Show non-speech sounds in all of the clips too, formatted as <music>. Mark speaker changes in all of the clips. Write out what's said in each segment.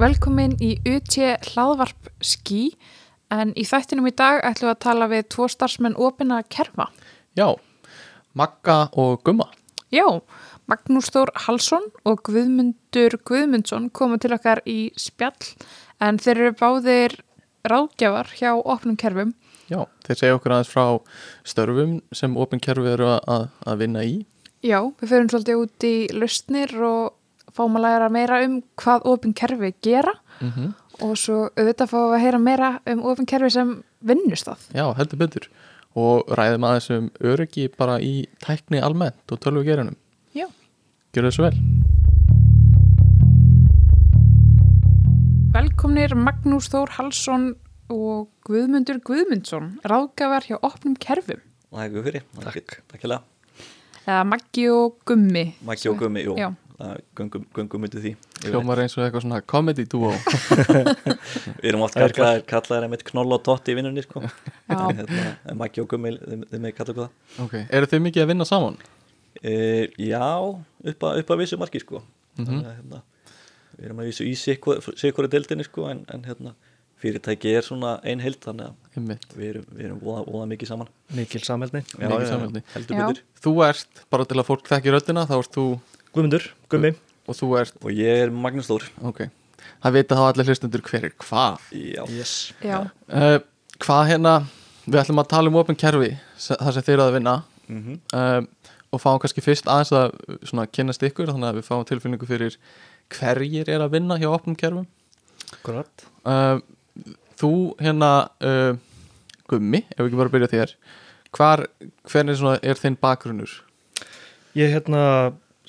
Speaker 1: Velkomin í UT hlaðvarp ský en í þættinum í dag ætlum við að tala við tvo starfsmenn opina kerfa.
Speaker 2: Já, Magga og Gumma.
Speaker 1: Já, Magnús Þór Halsson og Guðmundur Guðmundsson komu til okkar í spjall en þeir eru báðir ráðgjafar hjá opnum kerfum.
Speaker 2: Já, þeir segja okkur aðeins frá störfum sem opinkerfi eru að, að vinna í.
Speaker 1: Já, við förum svolítið út í lausnir og fáum að læra meira um hvað opin kerfi gera
Speaker 2: Mm -hmm.
Speaker 1: og svo auðvitað fáum við að heyra meira um opin kerfi sem vinnustaf.
Speaker 2: Já, heldur betur. Og ræðum aðeins um öryggi bara í tækni almennt og tölvugerunum.
Speaker 1: Já.
Speaker 2: Gjörðu þessu vel.
Speaker 1: Velkomnir Magnús Þór Halsson og Guðmundur Guðmundsson, ráðgafar hjá opnum kerfum,
Speaker 3: Takk fyrir, takk, takk hella
Speaker 1: eða Maggi og Gummi.
Speaker 3: Maggi og Gummi, jú,
Speaker 1: Já.
Speaker 3: það göngum, göngum myndið því
Speaker 2: Hljómar eins og eitthvað svona comedy <laughs> duo.
Speaker 3: Við erum oft
Speaker 2: Það er
Speaker 3: kallaðir, kallaðir einmitt knoll og tótt í vinnunni sko.
Speaker 1: Já.
Speaker 3: En <laughs> hérna, en Maggi og Gummi, þeim, þeim er kallað hvað
Speaker 2: ok, eru þau mikið að vinna saman?
Speaker 3: e, Já, upp að, upp að vissu marki sko. Þannig að hérna, Við erum að vissu í sikvori deildinni sko, en, en hérna, fyrirtæki er svona ein heild þannig að
Speaker 2: Einmitt.
Speaker 3: við erum, við erum voða, voða mikið saman
Speaker 4: Mikil sameldni
Speaker 3: Já,
Speaker 2: Mikið
Speaker 3: já, já,
Speaker 2: sameldni.
Speaker 3: Heldur
Speaker 1: Já.
Speaker 3: betur
Speaker 2: Þú ert, bara til að fólk þekki röddina, þá ert þú
Speaker 4: Guðmundur, Gummi
Speaker 2: og þú ert,
Speaker 3: Og ég er Magnús Þór
Speaker 2: ok. Það vita þá allir hlustundur hver er hvað.
Speaker 3: Já,
Speaker 4: yes.
Speaker 1: Já,
Speaker 2: Uh, hvað hérna, við ætlum að tala um opin kerfi, það sem þeir eru að vinna
Speaker 3: mm
Speaker 2: um, og fáum kannski fyrst aðeins að svona, kynnast ykkur þannig að við fáum tilfinningu fyrir hverjir er að vinna hjá opnum kerfum
Speaker 4: Akkurat
Speaker 2: um, Þú hérna uh, Gummi, ef við ekki bara byrja á þér hvar, hvernig svona er þinn bakgrunnur?
Speaker 4: Ég hérna,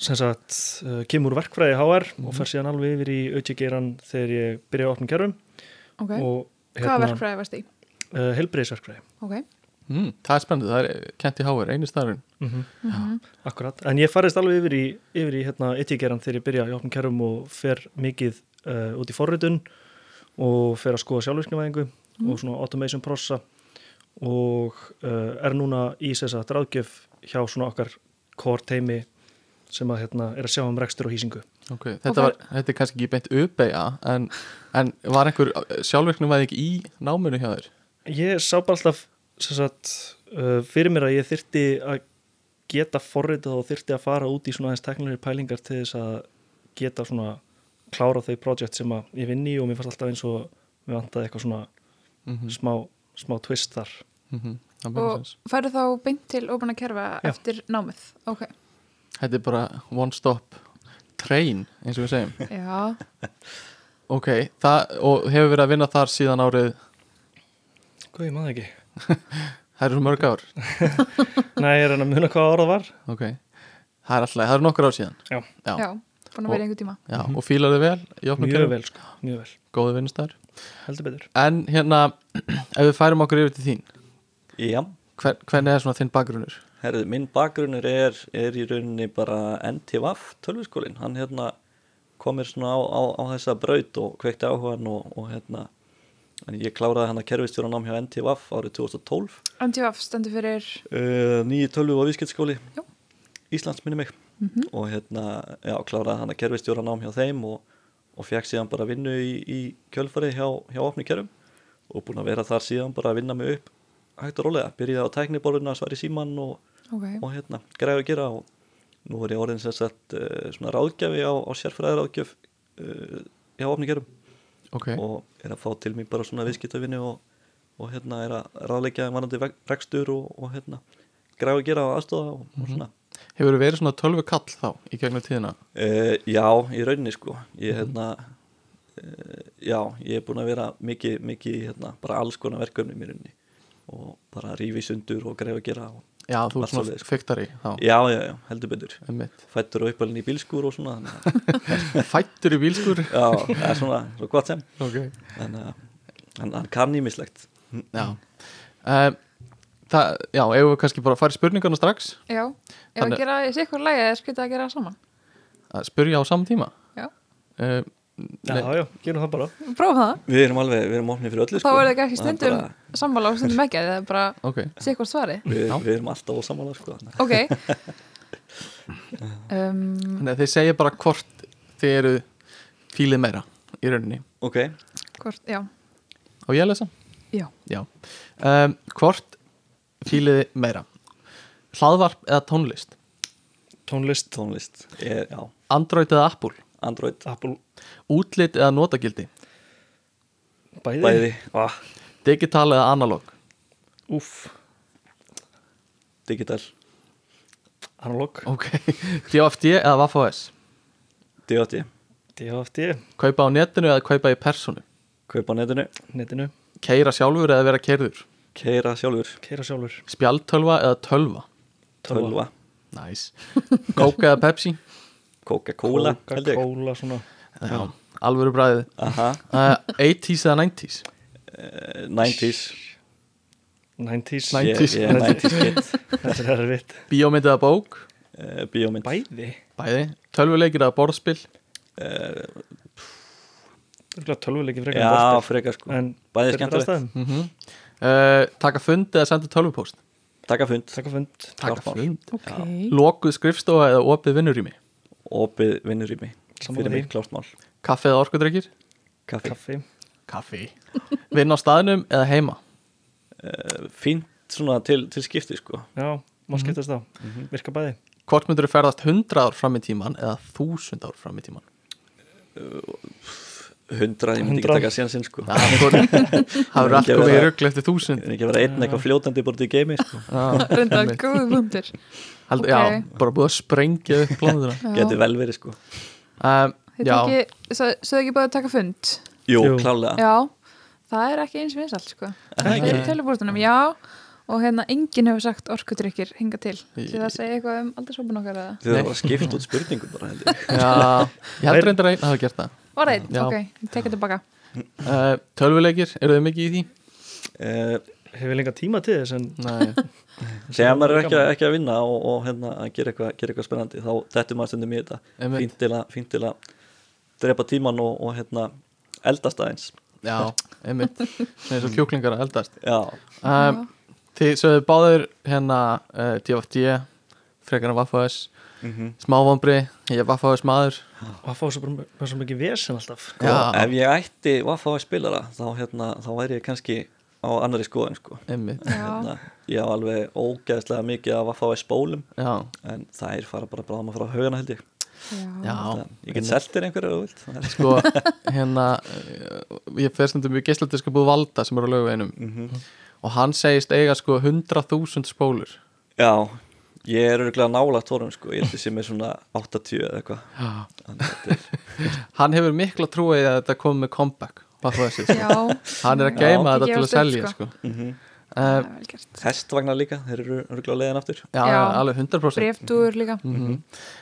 Speaker 4: sem sagt, uh, kemur úr verkfræði HR og fer síðan alveg yfir í auðvitað þegar ég byrja á opnum kerfum
Speaker 1: ok.
Speaker 4: og hérna-
Speaker 1: Hvaða verkfræði varst í?
Speaker 4: Uh, helbriðisverkfræði
Speaker 1: Ok.
Speaker 2: Mm, það er spennandi, það er kent í háver, einu starfin
Speaker 4: mm
Speaker 1: Mm -hmm.
Speaker 4: Akkurat, en ég farist alveg yfir í, yfir í hérna, auðvitað þegar ég byrja á opnum kerfum og fer mikið uh, út í forritun og fer að skoða sjálfvirkjumæðingu og svona automation prossa og uh, er núna í þess að ráðgjöf hjá svona okkar core teimi sem að hérna, er að sjá um rekstur og hýsingu
Speaker 2: okay. þetta, var, þetta er kannski ekki beint uppeyja en, en var einhver sjálfverknum væði ekki í náminu hjá þér?
Speaker 4: Ég sá bara alltaf sem sagt, uh, fyrir mér að ég þyrti að geta forritið og þyrti að fara út í svona aðeins teknilegri pælingar til þess að geta svona klára þau projekt sem að ég vinn í og mér fannst alltaf eins og mér vantaði eitthvað svona
Speaker 2: Mm -hmm.
Speaker 4: smá, smá twist þar.
Speaker 2: Mm
Speaker 1: Og færðu þá beint til opna kerfa
Speaker 4: Já.
Speaker 1: eftir námið? Ok.
Speaker 2: Þetta er bara one stop train eins og við segjum
Speaker 1: Já,
Speaker 2: Ok, það, og hefur verið að vinna þar síðan árið,
Speaker 4: Hvað ég maður ekki?
Speaker 2: það eru svo mörg ár,
Speaker 4: Nei, ég er enn að muna hvað orða var.
Speaker 2: ok, það er alltaf, það eru nokkur ár síðan,
Speaker 4: Já,
Speaker 2: já, já,
Speaker 1: já. Búin að vera í einhver tíma.
Speaker 2: og fílar þið vel, í opnum
Speaker 4: mjög
Speaker 2: kerfum,
Speaker 4: vel sko, mjög vel.
Speaker 2: góðu vinnustæður,
Speaker 4: Heldur betur.
Speaker 2: en hérna, <clears throat> ef við færum okkur yfir til þín,
Speaker 3: já.
Speaker 2: hver, hvernig er svona þinn bakgrunnur?
Speaker 3: Herðu, minn bakgrunnur er, er í rauninni bara NTVAF tölvskólinn, hann hérna komir svona á, á, á þessa braut og kveikti áhugan og, og hérna en ég kláraði hann að kerfistjóranám hjá NTVAF árið 2012
Speaker 1: MTF stendur fyrir,
Speaker 3: uh, nýji tölvu og vískjöldskóli
Speaker 1: Já.
Speaker 3: Íslands minni mig og hérna, já, kláraði hann að kerfistjóranám hjá þeim og, og fekk síðan bara vinnu í, í kjölfari hjá, hjá opni kerfum og búin að vera þar síðan bara að vinna mig upp hægt og rólega, byrjaði á tækniborðinu að svari síman og
Speaker 1: ok.
Speaker 3: og hérna, græði að gera og nú er ég orðin sem sagt uh, svona ráðgjafi á, á sérfræðaráðgjöf uh, hjá ofningerum
Speaker 2: Ok,
Speaker 3: og er að fá til mér bara svona viðskiptavinni og, og hérna er að ráðleggja varandi veg- rekstur og, og hérna græði að gera og aðstofa og, og svona
Speaker 2: hefur þið verið svona tölvu kall þá í gegnum tíðina?
Speaker 3: uh, Já, í rauninni sko ég hérna uh, já, ég er búin að vera mikið, mikið hérna, bara alls konar verkefnum í rauninni og bara rífi sundur og græði að gera og,
Speaker 2: Já, þú er
Speaker 3: Allt
Speaker 2: svona
Speaker 3: svoleiðis, sko.
Speaker 2: fiktari þá,
Speaker 3: Já, já, já, heldur betur
Speaker 2: emmitt,
Speaker 3: fættur og uppalinn í bílskúr og svona þannig að
Speaker 2: fættur í bílskur,
Speaker 3: Já, það er svona, svo gott sem
Speaker 2: ok,
Speaker 3: Þannig að hann, hann kann ímislegt
Speaker 2: já, um, það, já, ef við kannski bara farið spurningarna strax,
Speaker 1: Já, ef að
Speaker 2: Þannig-
Speaker 1: gera þessi ykkur lægi eða skvita að gera það saman.
Speaker 2: að spurja á samtíma,
Speaker 1: Já,
Speaker 2: um,
Speaker 4: Já,
Speaker 2: Nei.
Speaker 4: já, gerum það bara.
Speaker 1: prófa það.
Speaker 3: Við erum alveg, við erum opnið fyrir öllu
Speaker 1: Þá
Speaker 3: sko.
Speaker 1: verður það kannski
Speaker 3: Það er
Speaker 1: stundum
Speaker 3: bara-
Speaker 1: sammála og stundum ekki, það er bara
Speaker 2: ok,
Speaker 1: sé ykkur svarið.
Speaker 3: Við,
Speaker 2: Já.
Speaker 3: við erum alltaf ósamála sko. þannig að-
Speaker 1: Ok <laughs> um,
Speaker 2: Þannig að þið segja bara hvort þið eru fílið meira í rauninni
Speaker 3: ok,
Speaker 1: Hvort, já,
Speaker 2: á ég að lesa?
Speaker 1: já.
Speaker 2: Já um, Hvort fíliði meira? Hlaðvarp eða tónlist?
Speaker 4: tónlist,
Speaker 3: tónlist ég, já,
Speaker 2: Android eða Apple?
Speaker 3: Android,
Speaker 4: Apple,
Speaker 2: Útlit eða notagildi?
Speaker 4: bæði,
Speaker 3: bæði ah,
Speaker 2: Digital eða analog?
Speaker 4: úff,
Speaker 3: digital,
Speaker 4: analog,
Speaker 2: Ok <laughs> DFD eða Vafos?
Speaker 3: DOT
Speaker 4: DFD,
Speaker 2: Kaupa á netinu eða kaupa í personu?
Speaker 3: kaupa á netinu,
Speaker 4: netinu,
Speaker 2: Keira sjálfur eða vera keirður?
Speaker 3: keira sjálfur
Speaker 4: keira sjálfur,
Speaker 2: Spjaldtölva eða tölva?
Speaker 3: tölva,
Speaker 2: Næs nice. Coke eða Pepsi?
Speaker 3: Coca-Cola held ég.
Speaker 4: Coca-Cola, svona,
Speaker 2: Já, alvöru bræðið
Speaker 3: aha,
Speaker 2: uh, 80s eða 90s?
Speaker 3: eh, 90s
Speaker 4: 90s,
Speaker 2: Nei.
Speaker 3: Ég-
Speaker 2: 90s.
Speaker 3: ég er 90s kid
Speaker 4: <laughs> þetta er erfitt,
Speaker 2: Bíómynd eða bók?
Speaker 3: Eh, bíómynd
Speaker 4: bæði,
Speaker 2: Bæði Tölvuleikir eða borðspil?
Speaker 3: Eh,
Speaker 4: þetta er tölvuleiki frekar en
Speaker 3: já,
Speaker 4: bolti.
Speaker 3: frekar sko
Speaker 4: en
Speaker 3: bæði
Speaker 4: fyrir
Speaker 3: skemmtilegt.
Speaker 4: aðstæðum.
Speaker 2: mm uh, Taka fund eða senda tölvupóst?
Speaker 3: taka fund,
Speaker 4: Takk á fund,
Speaker 2: Taka
Speaker 3: Klart mál.
Speaker 2: fund
Speaker 1: Ok.
Speaker 2: Lokuð skrifstofa eða opið vinnurými
Speaker 3: opið vinnurými
Speaker 4: Sammála
Speaker 3: fyrir
Speaker 4: því.
Speaker 3: mig klárt mál,
Speaker 2: Kaffi eða orkudrykkir
Speaker 3: kaffi
Speaker 4: kaffi,
Speaker 2: <laughs> Kaffi Vinn á staðnum eða heima
Speaker 3: Eh, fínt svona til, til skipti sko
Speaker 4: já, má skiptast á, virka bæði,
Speaker 2: Hvort myndur þú ferðast 100 ár fram í tíman eða 1000 ár fram í tíman
Speaker 3: 100, ég myndi ekki
Speaker 4: 100.
Speaker 3: taka sénsinn sko
Speaker 2: Það <laughs> verður allt
Speaker 3: Ekki
Speaker 2: komið í
Speaker 3: vera-
Speaker 2: rugl eftir 1000
Speaker 3: Ég er ekki að vera einn eitthvað fljótandi bara til geimi sko.
Speaker 2: Já,
Speaker 1: Renda
Speaker 2: einmitt.
Speaker 1: góðu bundir.
Speaker 2: Held,
Speaker 1: Ok.
Speaker 2: Já, bara búið að sprengja upp plánutuna
Speaker 3: Geti vel verið sko
Speaker 2: um,
Speaker 1: Þetta
Speaker 2: Já,
Speaker 1: ekki, sögðu ekki búið að taka fund?
Speaker 3: Jú,
Speaker 4: Jú.
Speaker 3: klálega
Speaker 1: Já, það er ekki eins vinsalt, sko. Það er í tölvupóstunum, já. Og hérna, enginn hefur sagt orkudrykkir hinga til. Því það segja eitthvað um aldershópun okkar eða.
Speaker 3: Þið
Speaker 2: Nei.
Speaker 3: þarf að skipta út spurningum bara held
Speaker 2: <laughs>
Speaker 3: ég
Speaker 2: já, ég held reyndar að einn hafa gert það
Speaker 1: Var það einn?
Speaker 2: Já.
Speaker 1: Ok, ég tekja tilbaka.
Speaker 2: uh, Tölvuleikir, eru þið mikið í því?
Speaker 3: Eh,
Speaker 4: hefur lengra tíma til þess en
Speaker 2: Nei,
Speaker 3: Þegar maður er ekki, að- ekki að vinna og, og hérna að gera eitthvað, gera eitthvað spennandi þá dettur maður stundum í þetta
Speaker 2: Einmitt.
Speaker 3: fínt til, að, fínt til að drepa tíman og, og hérna eldast aðeins
Speaker 2: já, einmitt Svona eins og kjúklingar að eldast
Speaker 3: Já, sko,
Speaker 2: um, Þið sögðu báður hérna uh, DFD frekar en Vaffaðis
Speaker 3: mm
Speaker 2: smávombri, ég er Vaffaðis maður
Speaker 4: að fá svo bara með- með svo mikið vesen alltaf
Speaker 3: Sko,
Speaker 2: Já.
Speaker 3: ef ég ætti Vaffa spilara þá, hérna, þá væri ég kannski á annari skoðin sko.
Speaker 2: einmitt,
Speaker 1: Já,
Speaker 3: hérna, ég á alveg ógeðslega mikið af Vaffa spólum
Speaker 2: já,
Speaker 3: en þær fara bara bráðum að fara á haugana held ég
Speaker 1: já.
Speaker 2: já
Speaker 3: það, ég get selt þér einhverjar og vilt það er
Speaker 2: sko, hérna eh, ég fer stundum í geisladiska búið Valda sem er á lögveinum og hann segist eiga sko 100.000 spólur
Speaker 3: Já, ég er örgulega nála tórum sko, ég held ég sem er svona 80 eða eitthvað
Speaker 2: já.
Speaker 3: Þannig að þetta er-
Speaker 2: hann hefur mikla trúið að þetta komi með comeback Vaffaðis, sko.
Speaker 1: Já,
Speaker 2: hann er að
Speaker 1: Já.
Speaker 2: geima
Speaker 1: Ekki
Speaker 2: þetta til að
Speaker 1: gefast upp,
Speaker 2: selja
Speaker 1: sko.
Speaker 2: sko.
Speaker 3: Mhm.
Speaker 1: það
Speaker 2: uh,
Speaker 1: er vel gert.
Speaker 3: Hestvagnar líka, þeir eru örgulega leiðin aftur
Speaker 2: já,
Speaker 1: Já.
Speaker 2: alveg 100%
Speaker 1: Breftúr líka.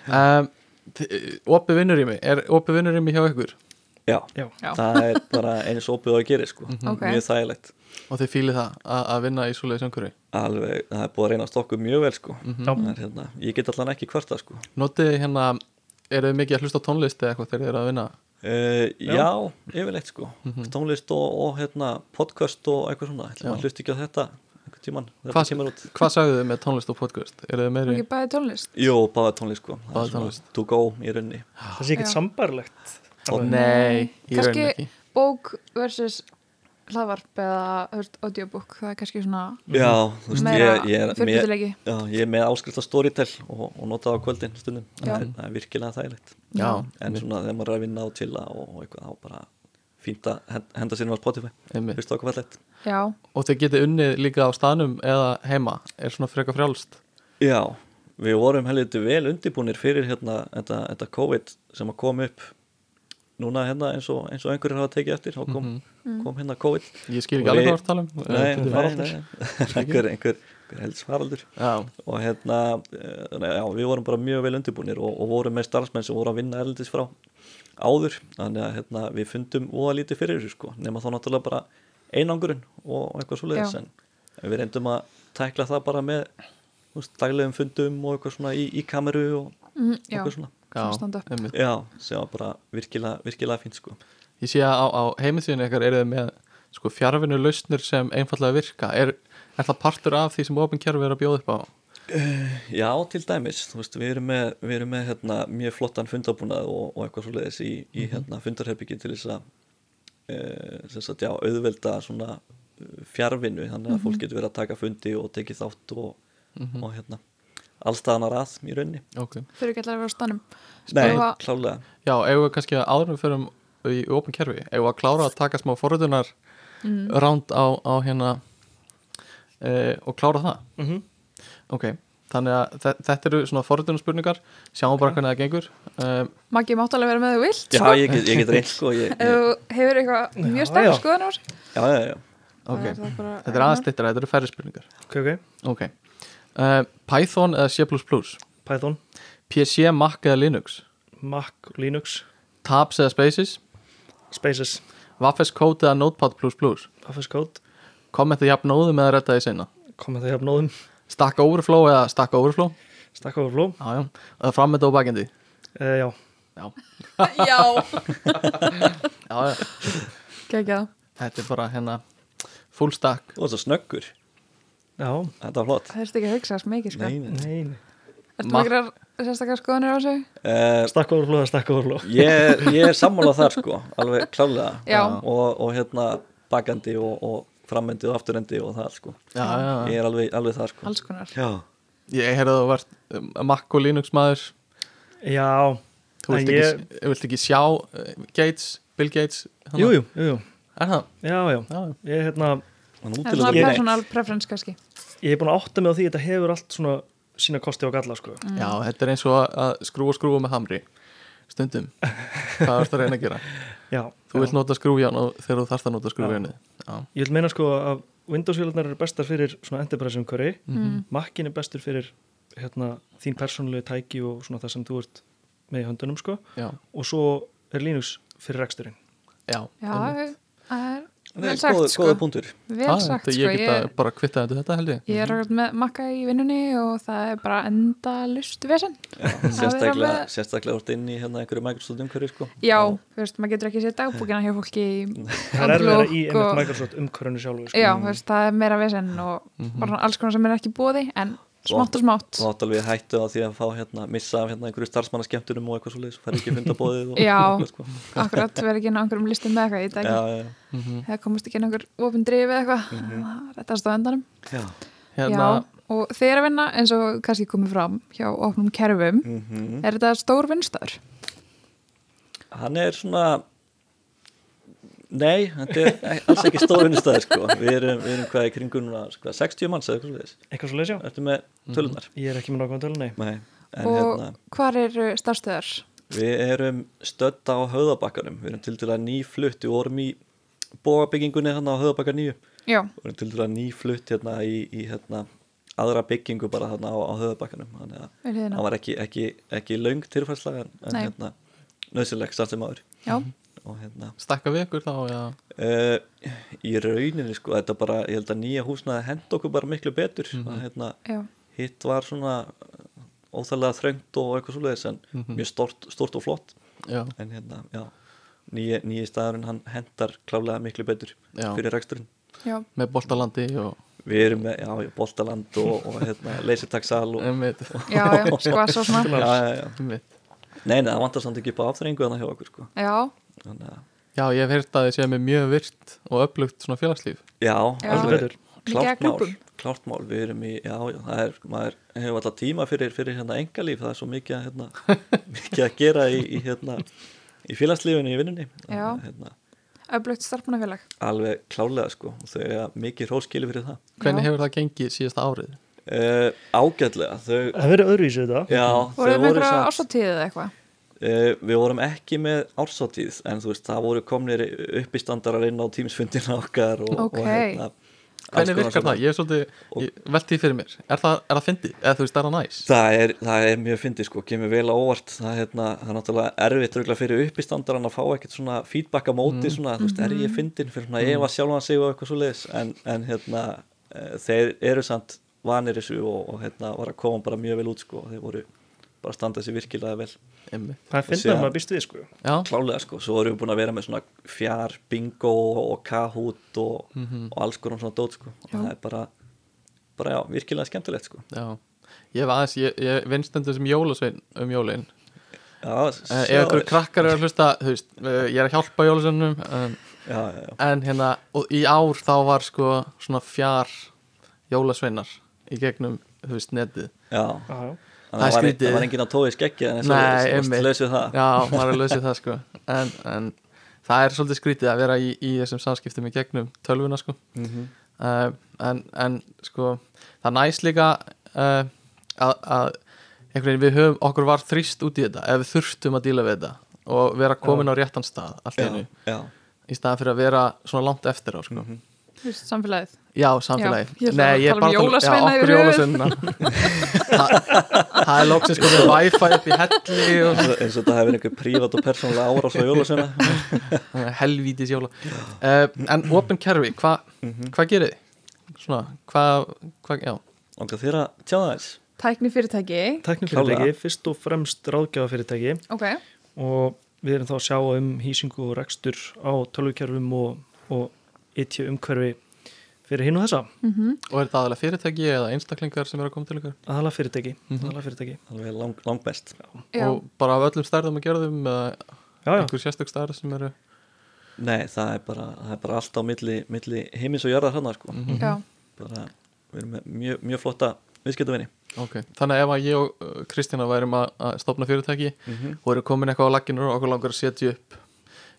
Speaker 2: um, þi- opið vinnurými er opið vinnurými hjá ykkur
Speaker 3: Já,
Speaker 4: já,
Speaker 1: Já.
Speaker 3: það er bara eins opið og að gera sko,
Speaker 1: Ok.
Speaker 3: mjög þægilegt
Speaker 2: og þið fílið það að að vinna í svoleiðis umhverfi
Speaker 3: Alveg, það er búið að reynast okkur mjög vel sko
Speaker 4: já,
Speaker 3: Það er, hérna, Ég get allan ekki kvarta sko
Speaker 2: notið þið hérna, eru þið mikið að hlusta á tónlist eða eitthvað þegar þið eru að vinna
Speaker 3: Uh, já. yfirleitt sko
Speaker 2: Mhm.
Speaker 3: tónlist og, og hérna, podcast og eitthvað svona, ætlum að hlusta ekki á þetta einhvern tíman, þetta
Speaker 2: Hvað-
Speaker 3: kemur út
Speaker 2: hvað sagðu þið með tónlist og podcast eru þið meiri
Speaker 1: Ekki bæði tónlist.
Speaker 3: Jú, báða tónlist sko Það er
Speaker 2: Báða
Speaker 3: svona
Speaker 2: tónlist.
Speaker 3: To go í rauninni
Speaker 4: það sé ekkert
Speaker 1: Já.
Speaker 4: sambarlegt
Speaker 2: nei, í
Speaker 1: kannski
Speaker 2: rauninni ekki
Speaker 1: bók versus hlaðvarp eða þú veist, audiobook, það er kannski svona
Speaker 3: Já,
Speaker 2: Mhm.
Speaker 3: þú veist,
Speaker 1: meira
Speaker 3: ég, ég, er, mér,
Speaker 1: fyrirbutileggi
Speaker 3: já, ég er með áskrift á Storytel og, og nota það á kvöldin stundum
Speaker 1: Já.
Speaker 3: það er, það er virkilega þægilegt
Speaker 2: já,
Speaker 3: en svona þegar maður er að vinna á til og, og eitthvað, þá bara fínt að hen- henda sér um á Spotify,
Speaker 2: einmitt.
Speaker 3: hlusta okkur fallegt
Speaker 1: Já,
Speaker 2: og þið getið unnið líka á staðnum eða heima er svona freka frjálst
Speaker 3: Já, við vorum helviti vel undirbúnir fyrir hérna þetta, þetta COVID sem að kom upp núna hérna eins og, eins og einhverjir hafa tekið eftir þá kom, kom hérna COVID
Speaker 2: ég skil
Speaker 3: Og
Speaker 2: Mhm. ekki alveg
Speaker 3: við-
Speaker 2: hvað þú ert að tala um
Speaker 3: Nei,
Speaker 2: Þetta er
Speaker 3: nei,
Speaker 2: faraldur.
Speaker 3: nei, <laughs> einhver, einhver, einhver helst faraldur
Speaker 2: já,
Speaker 3: og hérna, eh, þannig að já, við vorum bara mjög vel undirbúnir og, og vorum með starfsmenn sem voru að vinna erlendis frá áður þannig að hérna, við fundum óða lítið fyrir þessu sko, nema þá náttúrulega bara einangurinn og eitthvað svoleiðis
Speaker 1: Já.
Speaker 3: en við reyndum að tækla það bara með þú veist, daglegum fundum og eitthvað svona í, í kameru og
Speaker 1: mm, já,
Speaker 3: eitthvað svona
Speaker 2: já,
Speaker 1: Svona stand up.
Speaker 2: einmitt.
Speaker 3: já, sem var bara virkilega, virkilega fínt sko
Speaker 2: ég sé að á, á heimilsvíðinu ykkar eru þið með sko, fjárvinu lausnir sem einfallega virka er, er það partur af því sem opin kjærfi er að bjóða upp á
Speaker 3: Já, til dæmis, þú veist, við erum með, við erum með hérna, mjög flottan fundabúnað og, og eitthvað svoleiðis í, í hérna, fundarherbyggi til þess að e, sem sagt, já, auðvelda svona eh, fjarvinnu, þannig að fólk getur verið að taka fundi og tekið þátt og, og hérna, allstaðanar að í raunni.
Speaker 2: ok
Speaker 1: Þau eru ekki allar að vera á stanum
Speaker 3: Nei,
Speaker 1: Skrifa-
Speaker 3: klálega.
Speaker 2: Já, eigum við kannski að áðurum fyrir í opin kerfi, eigum við að klára að taka smá forritunar mm. ránd á, á hérna e, og klára það
Speaker 4: Mhm.
Speaker 2: Ok, þannig að þe- þetta eru svona forritunarspurningar, sjáum bara hvernig það gengur um,
Speaker 1: Maggi mátt alveg vera með þú vilt
Speaker 3: Já,
Speaker 1: sko,
Speaker 3: ég get, ég get reynd, sko, ég,
Speaker 1: ef <laughs>
Speaker 3: ég,
Speaker 1: þú hefur eitthvað
Speaker 4: Já,
Speaker 1: mjög stærn
Speaker 4: já.
Speaker 1: skoðan á þessu
Speaker 3: já, já, já.
Speaker 2: Ok,
Speaker 1: Það er bara-
Speaker 2: þetta er aðeins littra, þetta eru færri spurningar
Speaker 4: ok, ok,
Speaker 2: Ok, uh, Python eða C++,
Speaker 4: Python,
Speaker 2: PC, Mac eða Linux
Speaker 4: Mac, Linux
Speaker 2: Tabs eða Spaces,
Speaker 4: Spaces,
Speaker 2: Waffes Code eða Notepad++,
Speaker 4: Office Code
Speaker 2: kommentu jafn nóðum eða redda því sinna
Speaker 4: koma það hjá nóðum,
Speaker 2: Stack Overflow eða Stack Overflow
Speaker 4: Stack Overflow
Speaker 2: Já, já, það framönda og bakendi
Speaker 4: uh, já,
Speaker 2: já.
Speaker 1: <laughs> Já,
Speaker 2: já, já,
Speaker 1: gekkja
Speaker 2: þetta er bara hérna full stack
Speaker 3: Þú varst svo snöggur,
Speaker 4: já,
Speaker 3: þetta var flott.
Speaker 1: það þurfti ekki að hugsa þess mikið sko.
Speaker 3: Nei, nei.
Speaker 4: nei nei.
Speaker 1: Ertu
Speaker 2: Ma-
Speaker 1: með eitthvað sérstakar skoðanir á þessu?
Speaker 3: Uh,
Speaker 4: Stack Overflow, eða Stack Overflow
Speaker 3: ég, ég er sammála þar sko alveg klálega
Speaker 1: Já.
Speaker 3: og, og hérna bakandi og, og framendi og afturendi og það sko
Speaker 2: Já, já, já.
Speaker 3: ég er alveg, alveg þar sko
Speaker 1: Alls konar
Speaker 3: já,
Speaker 2: Ég heyrði að þú vart um, Mac og Linux maður
Speaker 4: já,
Speaker 2: Þú vilt
Speaker 4: en ég
Speaker 2: ekki, ég... vilt ekki sjá uh, Gates, Bill Gates hana.
Speaker 4: jú, jú, jú, jú,
Speaker 2: Er það?
Speaker 4: já, já
Speaker 2: Já, já.
Speaker 4: ég er hérna,
Speaker 3: hann
Speaker 1: Það er svona
Speaker 3: útilega
Speaker 1: personal preference kannski
Speaker 4: ég er búin að átta mig á því þetta hefur allt svona sína kosti og galla sko.
Speaker 2: já, þetta er eins og að- að skrúa skrúa með hamri Stundum
Speaker 4: <laughs>
Speaker 2: Hvað er að reyna að gera?
Speaker 4: já,
Speaker 2: Þú
Speaker 4: já.
Speaker 2: vilt nota skrújan og þegar þú þarft að nota skrújan Já,
Speaker 4: ég vil meina sko að Windows-vélarnar eru bestar fyrir svona enterprise umhverfi
Speaker 1: Mhm.
Speaker 4: Macin er bestur fyrir hérna, þín persónulegu tæki og svona það sem þú ert með í höndunum sko
Speaker 2: já,
Speaker 4: og svo er Linux fyrir reksturinn
Speaker 2: já,
Speaker 1: Já,
Speaker 2: einmitt.
Speaker 1: það er vel sagt
Speaker 3: góð,
Speaker 1: sko
Speaker 3: góða punktur
Speaker 2: Ah,
Speaker 1: Vel sagt
Speaker 2: þetta-
Speaker 1: sko
Speaker 2: Ég
Speaker 1: Ég,
Speaker 2: get að bara kvitta þetta, þetta held ég
Speaker 1: ég er akkur með makka í vinnunni og það er bara enda lust vesen
Speaker 3: sérstaklega,
Speaker 1: alveg-
Speaker 3: sérstaklega úr inn í hérna einhverju Microsoft umhverju sko
Speaker 1: Já, þú veist, maður getur ekki sér dagbúkina hjá fólki í
Speaker 4: það er erfiðara í
Speaker 1: Outlook
Speaker 4: einmitt
Speaker 1: og-
Speaker 4: Microsoft umhverfinu sjálfu sko.
Speaker 1: Já, þú veist, það er meira vesen og bara svona alls konar sem er ekki búði en smátt og smátt
Speaker 3: þú átt alveg hættu á því að fá hérna missa af hérna einhverju starfsmannaskemmtunum og eitthvað svoleiðis fær ekki fundabóðið og,
Speaker 1: Já.
Speaker 3: og, sko.
Speaker 1: Akkurat, vera ekki inn á einhverjum listum með eitthvað í dag
Speaker 3: já, já,
Speaker 1: Það komast ekki inn á einhver ofin drifið eitthvað það rettast á endanum
Speaker 3: já.
Speaker 2: Hérna-
Speaker 1: Já, og þeir að vinna eins og kannski komið fram hjá opnum kerfum er þetta stór vinnstæður?
Speaker 3: hann er svona nei, þetta er e, alls ekki stóðunistæði sko við erum, við erum hvað í kringum núna, sko, 60 manns eða eitthvað svoleiðis
Speaker 4: eitthvað svo leysjá,
Speaker 3: Ertu með tölunar?
Speaker 4: ég er ekki með nákvæm tölun nei,
Speaker 3: Nei, en
Speaker 1: og
Speaker 3: hérna
Speaker 1: hvar eru starfstöðar?
Speaker 3: við erum stödd á höðabakkanum við erum til dæla nýflutt, við vorum í bóabyggingunni hérna á höðabakka nýju við
Speaker 1: Já,
Speaker 3: erum til dæla nýflutt hérna í, í hérna aðra byggingu bara hérna á, á höðabakkanum þannig að
Speaker 1: við
Speaker 3: það
Speaker 1: hliðina
Speaker 3: var ekki, ekki, ekki löng tilfærsla en,
Speaker 1: Hérna.
Speaker 3: en
Speaker 1: Nei.
Speaker 3: hérna nöðsynleg samt sem áður
Speaker 1: Já,
Speaker 3: og hérna
Speaker 2: Stakka við ykkur þá, já
Speaker 3: Uh, í rauninni sko, þetta bara, ég held að nýja húsnaði henda okkur bara miklu betur að, hérna,
Speaker 1: já,
Speaker 3: hitt var svona uh, óþærlega þröngt og eitthvað svoleiðis en mjög stort, stort og flott
Speaker 2: Já,
Speaker 3: en hérna, já nýji, nýji staðurinn hann hendar klálega miklu betur
Speaker 2: Já.
Speaker 3: fyrir reksturinn
Speaker 1: já
Speaker 2: með boltalandi og
Speaker 3: við erum með, já, já, boltaland og, og hérna, leysirtaksal og
Speaker 2: einmitt,
Speaker 1: Já, já,
Speaker 3: <laughs>
Speaker 1: skvass og
Speaker 3: já,
Speaker 1: svona
Speaker 3: já, já.
Speaker 2: einmitt.
Speaker 3: nei, nei, það vantar samt ekki upp á afþrengu þannig hjá okkur sko.
Speaker 1: Já,
Speaker 3: Þannig að,
Speaker 2: Já, ég hef heyrt að þið séu með mjög virt og öflugt svona félagslíf
Speaker 3: já,
Speaker 1: Já.
Speaker 4: heldur
Speaker 3: alveg
Speaker 4: betur
Speaker 1: Mikið af
Speaker 3: klárt mál,
Speaker 1: klúbbum.
Speaker 3: klárt mál við erum í, já, já, það er maður hefur alltaf tíma fyrir, fyrir hérna engalíf það er svo mikið að,
Speaker 1: <laughs>
Speaker 3: hérna, mikið að gera í, í hérna, í félagslífunni í vinnunni Þannig
Speaker 1: Já.
Speaker 3: að, hérna,
Speaker 1: öflugt starfmanafélag
Speaker 3: alveg klálega sko og þau er mikið hróskili fyrir það
Speaker 2: Hvernig
Speaker 1: Já.
Speaker 2: hefur það gengið síðasta árið?
Speaker 3: uh, ágætlega þau,
Speaker 4: það verður öðruvísu þetta
Speaker 3: já,
Speaker 1: Voruð þið með einhverja
Speaker 3: samt-
Speaker 1: ásatíðið eða eitthvað?
Speaker 3: Eh, við vorum ekki með ársatíð en þú veist, það voru komnir uppistandarar inn á tímsfundina okkar og,
Speaker 1: Ok.
Speaker 3: og hérna alls
Speaker 2: Hvernig
Speaker 3: konar
Speaker 2: virkar
Speaker 3: svona.
Speaker 2: það? Ég er svolítið, ég, velti því fyrir mér Er það, er það fyndið? Eða þú veist, er það næs?
Speaker 3: Það er, það er mjög fyndið sko, kemur vel á óvart það, hérna, það er náttúrulega erfitt röglega fyrir uppistandaran að fá ekkert svona feedback á móti svona, þú veist, er ég fyndin fyrir svona ef að sjálfan sig og eitthvað svo leiðis en, en hérna, eh, þeir eru samt vanir þessu og, og hérna var að koma bara mjög vel út sko, og þeir voru bara að standa sér virkilega vel
Speaker 2: Einmitt.
Speaker 4: það finnst
Speaker 3: Síðan-
Speaker 4: það maður býst við sko
Speaker 2: Já,
Speaker 3: klálega sko, svo erum við búin að vera með svona fjár bingo og kahút og, og alls konar svona dót sko og það er bara, bara já, virkilega skemmtilegt sko
Speaker 2: já Ég hef aðeins, ég, ég vinstendum sem jólasvein um jólin
Speaker 3: já,
Speaker 2: uh, Ef
Speaker 3: sjá-
Speaker 2: ykkur krakkar eru að hlusta, þú veist, uh, ég er að hjálpa jólasveinum um,
Speaker 3: já, já, já.
Speaker 2: En hérna, og í ár þá var sko svona fjár jólasveinar í gegnum, þú veist, netið
Speaker 3: já.
Speaker 4: já,
Speaker 3: Þannig að
Speaker 2: Það er
Speaker 3: Það var,
Speaker 2: skrítið.
Speaker 3: það var enginn að tói skeggi en þess
Speaker 2: Nei,
Speaker 3: að
Speaker 2: einmitt.
Speaker 3: lösu það
Speaker 2: Já, maður er að lösið það sko en, en það er svolítið skrítið að vera í, í þessum samskiptum í gegnum tölvuna sko uh, en, en sko það er næst líka uh, að, að einhvern veginn við höfum okkur var þrýst út í þetta ef við þurftum að díla við þetta og vera komin á réttan stað allt í
Speaker 3: já,
Speaker 2: einu
Speaker 3: já,
Speaker 2: í staðan fyrir að vera svona langt eftir á sko
Speaker 1: Þú veist, samfélagið
Speaker 2: Já, samfélagi
Speaker 1: Já, ég ætla að
Speaker 2: Nei, ég er
Speaker 1: tala um
Speaker 2: bara að
Speaker 1: jólasveina
Speaker 2: tala- já,
Speaker 1: í
Speaker 2: okkur
Speaker 1: röð.
Speaker 2: jólasveina <laughs> Þa- Það er loksins sko með wifi upp í helli og
Speaker 3: eins og- eins og þetta hefur einhver prívat og persónulega árás á jólasveina
Speaker 2: helvítis jóla uh, en open carry, hva,
Speaker 4: Mhm.
Speaker 2: hvað gerir þið? svona, hvað hva, já,
Speaker 3: og þér að tjá það eins
Speaker 1: Tækni fyrirtæki
Speaker 4: tæknifyrirtæki, fyrst og fremst ráðgjafafyrirtæki
Speaker 1: Ok,
Speaker 4: og við erum þá að sjá um hýsingu og rekstur á tölvukerfum og, og etja umhverfi fyrir hinn og þessa,
Speaker 2: og er þetta aðalega fyrirtæki eða einstaklingar sem eru að koma til ykkur
Speaker 4: aðalega fyrirtæki,
Speaker 3: Mhm.
Speaker 4: aðalega fyrirtæki.
Speaker 3: alveg lang, langbest
Speaker 1: já,
Speaker 2: og bara af öllum stærðum að gerðum eða
Speaker 4: Já, já,
Speaker 2: einhver sérstök stærð sem eru
Speaker 3: nei, það er bara, það er bara allt á milli, milli heimins og jarðar hana sko.
Speaker 1: já
Speaker 3: bara, við erum með mjög, mjög flotta viðskiptavinni
Speaker 2: ok, þannig að ef að ég og uh, Kristína værim að, að stopna fyrirtæki og eru komin eitthvað á lagginu og okkur langar að setja upp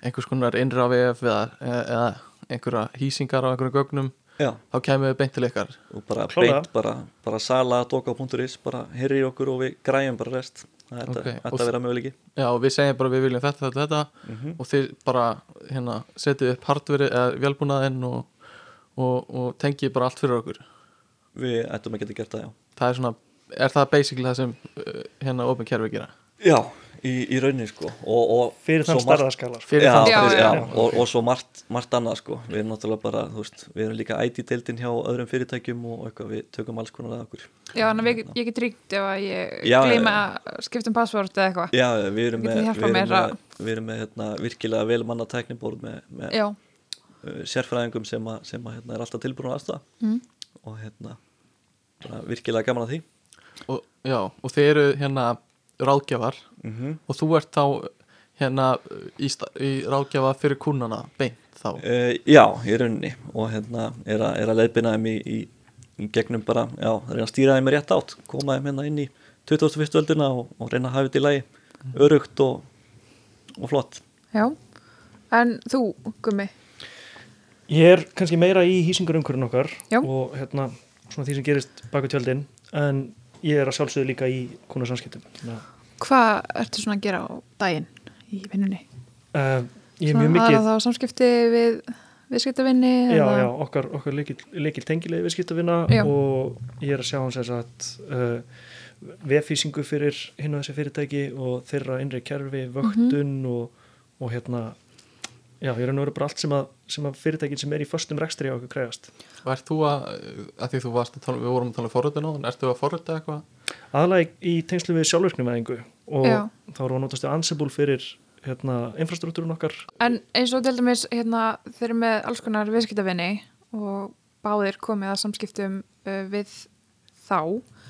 Speaker 2: einhvers konar innra VF eða, e-, eða einhverja hýsingar á einhverjum gögnum
Speaker 3: já,
Speaker 2: þá kemur við beint til ykkar
Speaker 3: og bara
Speaker 4: Klárlega.
Speaker 3: beint bara, bara sala, doka.is bara heyri í okkur og við græjum bara rest það er
Speaker 2: Ok,
Speaker 3: okay.
Speaker 2: og
Speaker 3: þetta að vera möguleiki
Speaker 2: Já, og við segjum bara við viljum þetta, þetta, þetta og þið bara hérna, setið upp hardveri eða velbúnaðinn og, og, og tengið bara allt fyrir okkur.
Speaker 3: við ættum að geta gert það, já
Speaker 2: Það er svona, er það basically það sem uh, hérna open kerfi gera?
Speaker 3: já, í, í rauninni sko og, og
Speaker 4: fyrir
Speaker 3: svo
Speaker 4: þann sko.
Speaker 3: margt-
Speaker 4: starðaskalar.
Speaker 2: Fyrir
Speaker 3: já,
Speaker 2: þann
Speaker 1: Já,
Speaker 3: já,
Speaker 1: já,
Speaker 3: já. Og, og svo margt, margt annað sko við erum náttúrulega bara, þú veist, við erum líka IT-deildin hjá öðrum fyrirtækjum og eitthvað við tökum alls konar að okkur
Speaker 1: Já, þannig að við- ég get ríkt ef að ég
Speaker 3: Já,
Speaker 1: gleyma
Speaker 3: já,
Speaker 1: að skipta um passvort eða eitthvað
Speaker 3: já, við erum
Speaker 1: Getið
Speaker 3: með,
Speaker 1: hjálpað
Speaker 3: við erum
Speaker 1: mér
Speaker 3: með,
Speaker 1: að-
Speaker 3: við erum með hérna, virkilega vel manna teknibórd með, með
Speaker 1: Já,
Speaker 3: uh, sérfræðingum sem, að, sem að, hérna, er alltaf tilbúin aðstæða mm. og hérna bara virkilega gaman að því
Speaker 2: Og, já, og þið eru hérna ráðgjafar
Speaker 3: Mhm.
Speaker 2: og þú ert þá hérna í, sta- í ráðgjafa fyrir kúnana beint þá.
Speaker 3: uh, já, í rauninni og hérna er, a, er að leiðbina þeim í, í, í gegnum bara, já, reyna að stýra þeim í rétt átt koma þeim hérna inn í 21. öldina og, og reyna að hafa þetta í lagi örugt og, og flott
Speaker 1: já En þú, Gummi
Speaker 4: Ég er kannski meira í hýsingur umhverjum okkar
Speaker 1: Já.
Speaker 4: og hérna svona því sem gerist baku tjöldin en ég er að sjálfsögðu líka í konu samskiptum. Þannig að,
Speaker 1: Hvað ertu svona að gera á daginn í vinnunni?
Speaker 4: Uh, ég er mjög mikið...
Speaker 1: Aðra þá samskipti við viðskiptavinni
Speaker 4: já,
Speaker 1: eða-
Speaker 4: já, okkar, okkar leikil tengilegi viðskiptavina
Speaker 1: Já.
Speaker 4: og ég er að sjá hans þess að uh, vefísingu fyrir hinn og þessi fyrirtæki og þeirra innri kerfi,
Speaker 1: Mhm.
Speaker 4: vöktun og, og hérna já, ég er að vera bara allt sem að, sem að fyrirtækin sem er í föstum rekstri á okkur krefast
Speaker 2: Og ert þú að, að því þú varst að tala, við vorum að tala um forröðin á, en ert þú að forröða eitthvað?
Speaker 4: aðlæg í tengslu við sjálfverknumæðingu og
Speaker 1: Já.
Speaker 4: þá erum við að notast við Ansible fyrir hérna, infrastruktúrun okkar
Speaker 1: En eins og til dæmis hérna, þeir eru með alls konar viðskiptavinni og báðir komið að samskiptum uh, við þá.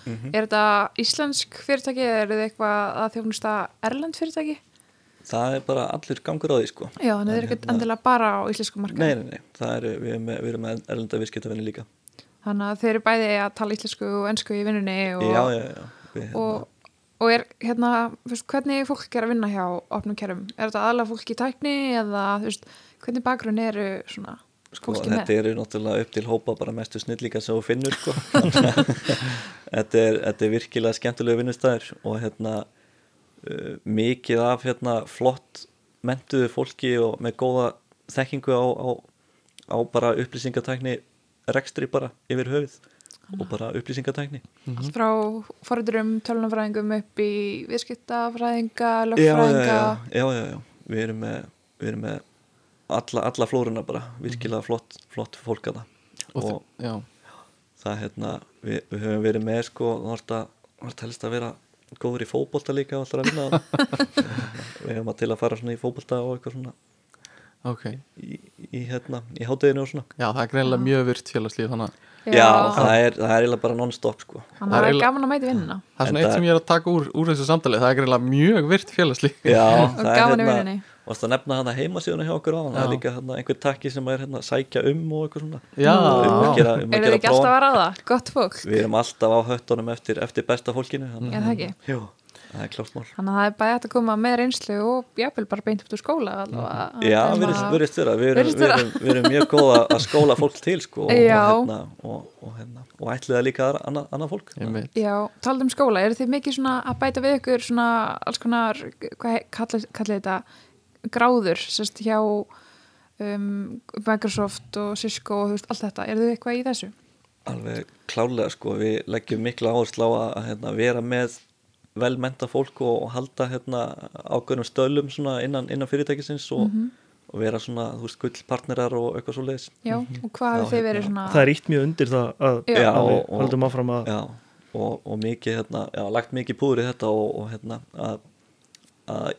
Speaker 3: Mhm.
Speaker 1: Er þetta íslensk fyrirtæki eða eru þið eitthvað að þjófnusta erlend fyrirtæki?
Speaker 3: það er bara allur gangur á því sko
Speaker 1: Já, þannig þeir eru ekkert endilega bara á íslensku
Speaker 3: Nei,
Speaker 1: markaði.
Speaker 3: nei, nei, það er, við erum með, við erum með erlenda viðskiptavinni líka
Speaker 1: Þannig að þeir eru bæði að tala íslensku og ennsku í vinnunni og,
Speaker 3: Já, já, já, við, hérna,
Speaker 1: og, og er hérna, þú veist, hvernig fólk er að vinna hjá opnum kerfum? Er þetta aðlega fólk í tækni eða þú veist, hvernig bakgrunn eru svona
Speaker 3: sko,
Speaker 1: fólki með?
Speaker 3: þetta eru náttúrulega upp til hópa bara mestu snillíka sem þú finnur sko. <laughs> Þannig að þetta, er, þetta er virkilega skemmtilega vinnustæður og hérna uh, mikið af hérna flott mentuðu fólki og með góða þekkingu á, á, á bara upplýsingatækni rekstri bara yfir höfuð og bara upplýsingatækni
Speaker 1: allt frá forriturum, tölunafræðingum upp í viðskiptafræðinga,
Speaker 3: já, já,
Speaker 1: lögfræðinga
Speaker 3: já, já, já, já. Við, erum með, við erum með alla, alla flóruna bara
Speaker 1: Mhm.
Speaker 3: virkilega flott, flott fólk að
Speaker 2: Og, og, já,
Speaker 3: það hérna, við, við höfum verið með sko, það var þetta- það var telst að vera góður í fótbolta líka og alltaf að vinna þarna. við höfum að til að fara svona í fótbolta og eitthvað svona
Speaker 2: ok,
Speaker 3: í, í, hérna, í hátæðinu og svona
Speaker 2: já það er greinilega mjög virt félagslíf þannig að
Speaker 3: Já, það er, það er eiginlega bara non-stop
Speaker 1: <laughs>
Speaker 3: sko
Speaker 1: hann
Speaker 2: það er
Speaker 1: er
Speaker 2: eiginlega-
Speaker 1: gaman að mæti vinnuna
Speaker 2: það er
Speaker 3: En
Speaker 2: svona eitt
Speaker 3: það-
Speaker 2: sem ég er að taka úr, úr þessu samtalið, það er greinilega mjög virt félagslíf
Speaker 3: Já,
Speaker 1: og gaman í vinnunni
Speaker 3: varst að nefna hana heimasíðuna hjá okkur á hann, það er
Speaker 2: Já.
Speaker 3: líka hana, einhver takki sem er hérna sækja um og eitthvað svona
Speaker 2: já,
Speaker 3: um að gera, um
Speaker 1: eru þið
Speaker 3: að gera
Speaker 1: ekki alltaf
Speaker 3: prófan.
Speaker 1: að ráða, gott fólk
Speaker 3: Við erum alltaf á höttunum eftir, eftir besta fólkinu þannig
Speaker 1: Já, það ekki.
Speaker 3: að- Jú, það er klárt mál
Speaker 1: þannig að það er bara hægt að koma með reynslu og jáfnvel bara beint upp til skóla allavega.
Speaker 3: Mhm. Já,
Speaker 1: Þannig
Speaker 3: virðist
Speaker 1: að-
Speaker 3: virðist vera, við erum,
Speaker 1: virðist
Speaker 3: við
Speaker 1: vera.
Speaker 3: erum, við erum mjög góð að að skóla fólk til sko og, og,
Speaker 1: Já.
Speaker 3: hérna, og, og, hérna, og ætliða líka aðra- annað annað
Speaker 2: <laughs>
Speaker 3: fólk
Speaker 2: einmitt
Speaker 1: Já, talað um skóla, eru þið mikið svona að bæta við ykkur svona alls konar, hvað he- kallið kalli þetta, gráður, sérst hjá um, Microsoft og Cisco og þú veist, allt þetta, eru þið eitthvað í þessu?
Speaker 3: Alveg klálega sko, við leggjum mikla áherslu á að að, hérna, vera með velmenta fólk og, og halda hérna, ákveðnum stölum svona innan, innan fyrirtækisins og,
Speaker 1: Mhm.
Speaker 3: og vera svona, þú veist, gullpartnerar og eitthvað svo leiðis.
Speaker 1: Já, og hvað
Speaker 3: Mhm. Já,
Speaker 1: hefur þið verið
Speaker 3: hérna,
Speaker 1: svona,
Speaker 4: það er ítt mjög undir það að,
Speaker 1: Ah. Já.
Speaker 4: að við
Speaker 3: Já, og-
Speaker 4: haldum áfram að
Speaker 3: Já, og, og mikið, hérna, já, lagt mikið púður í þetta og, og hérna, að, að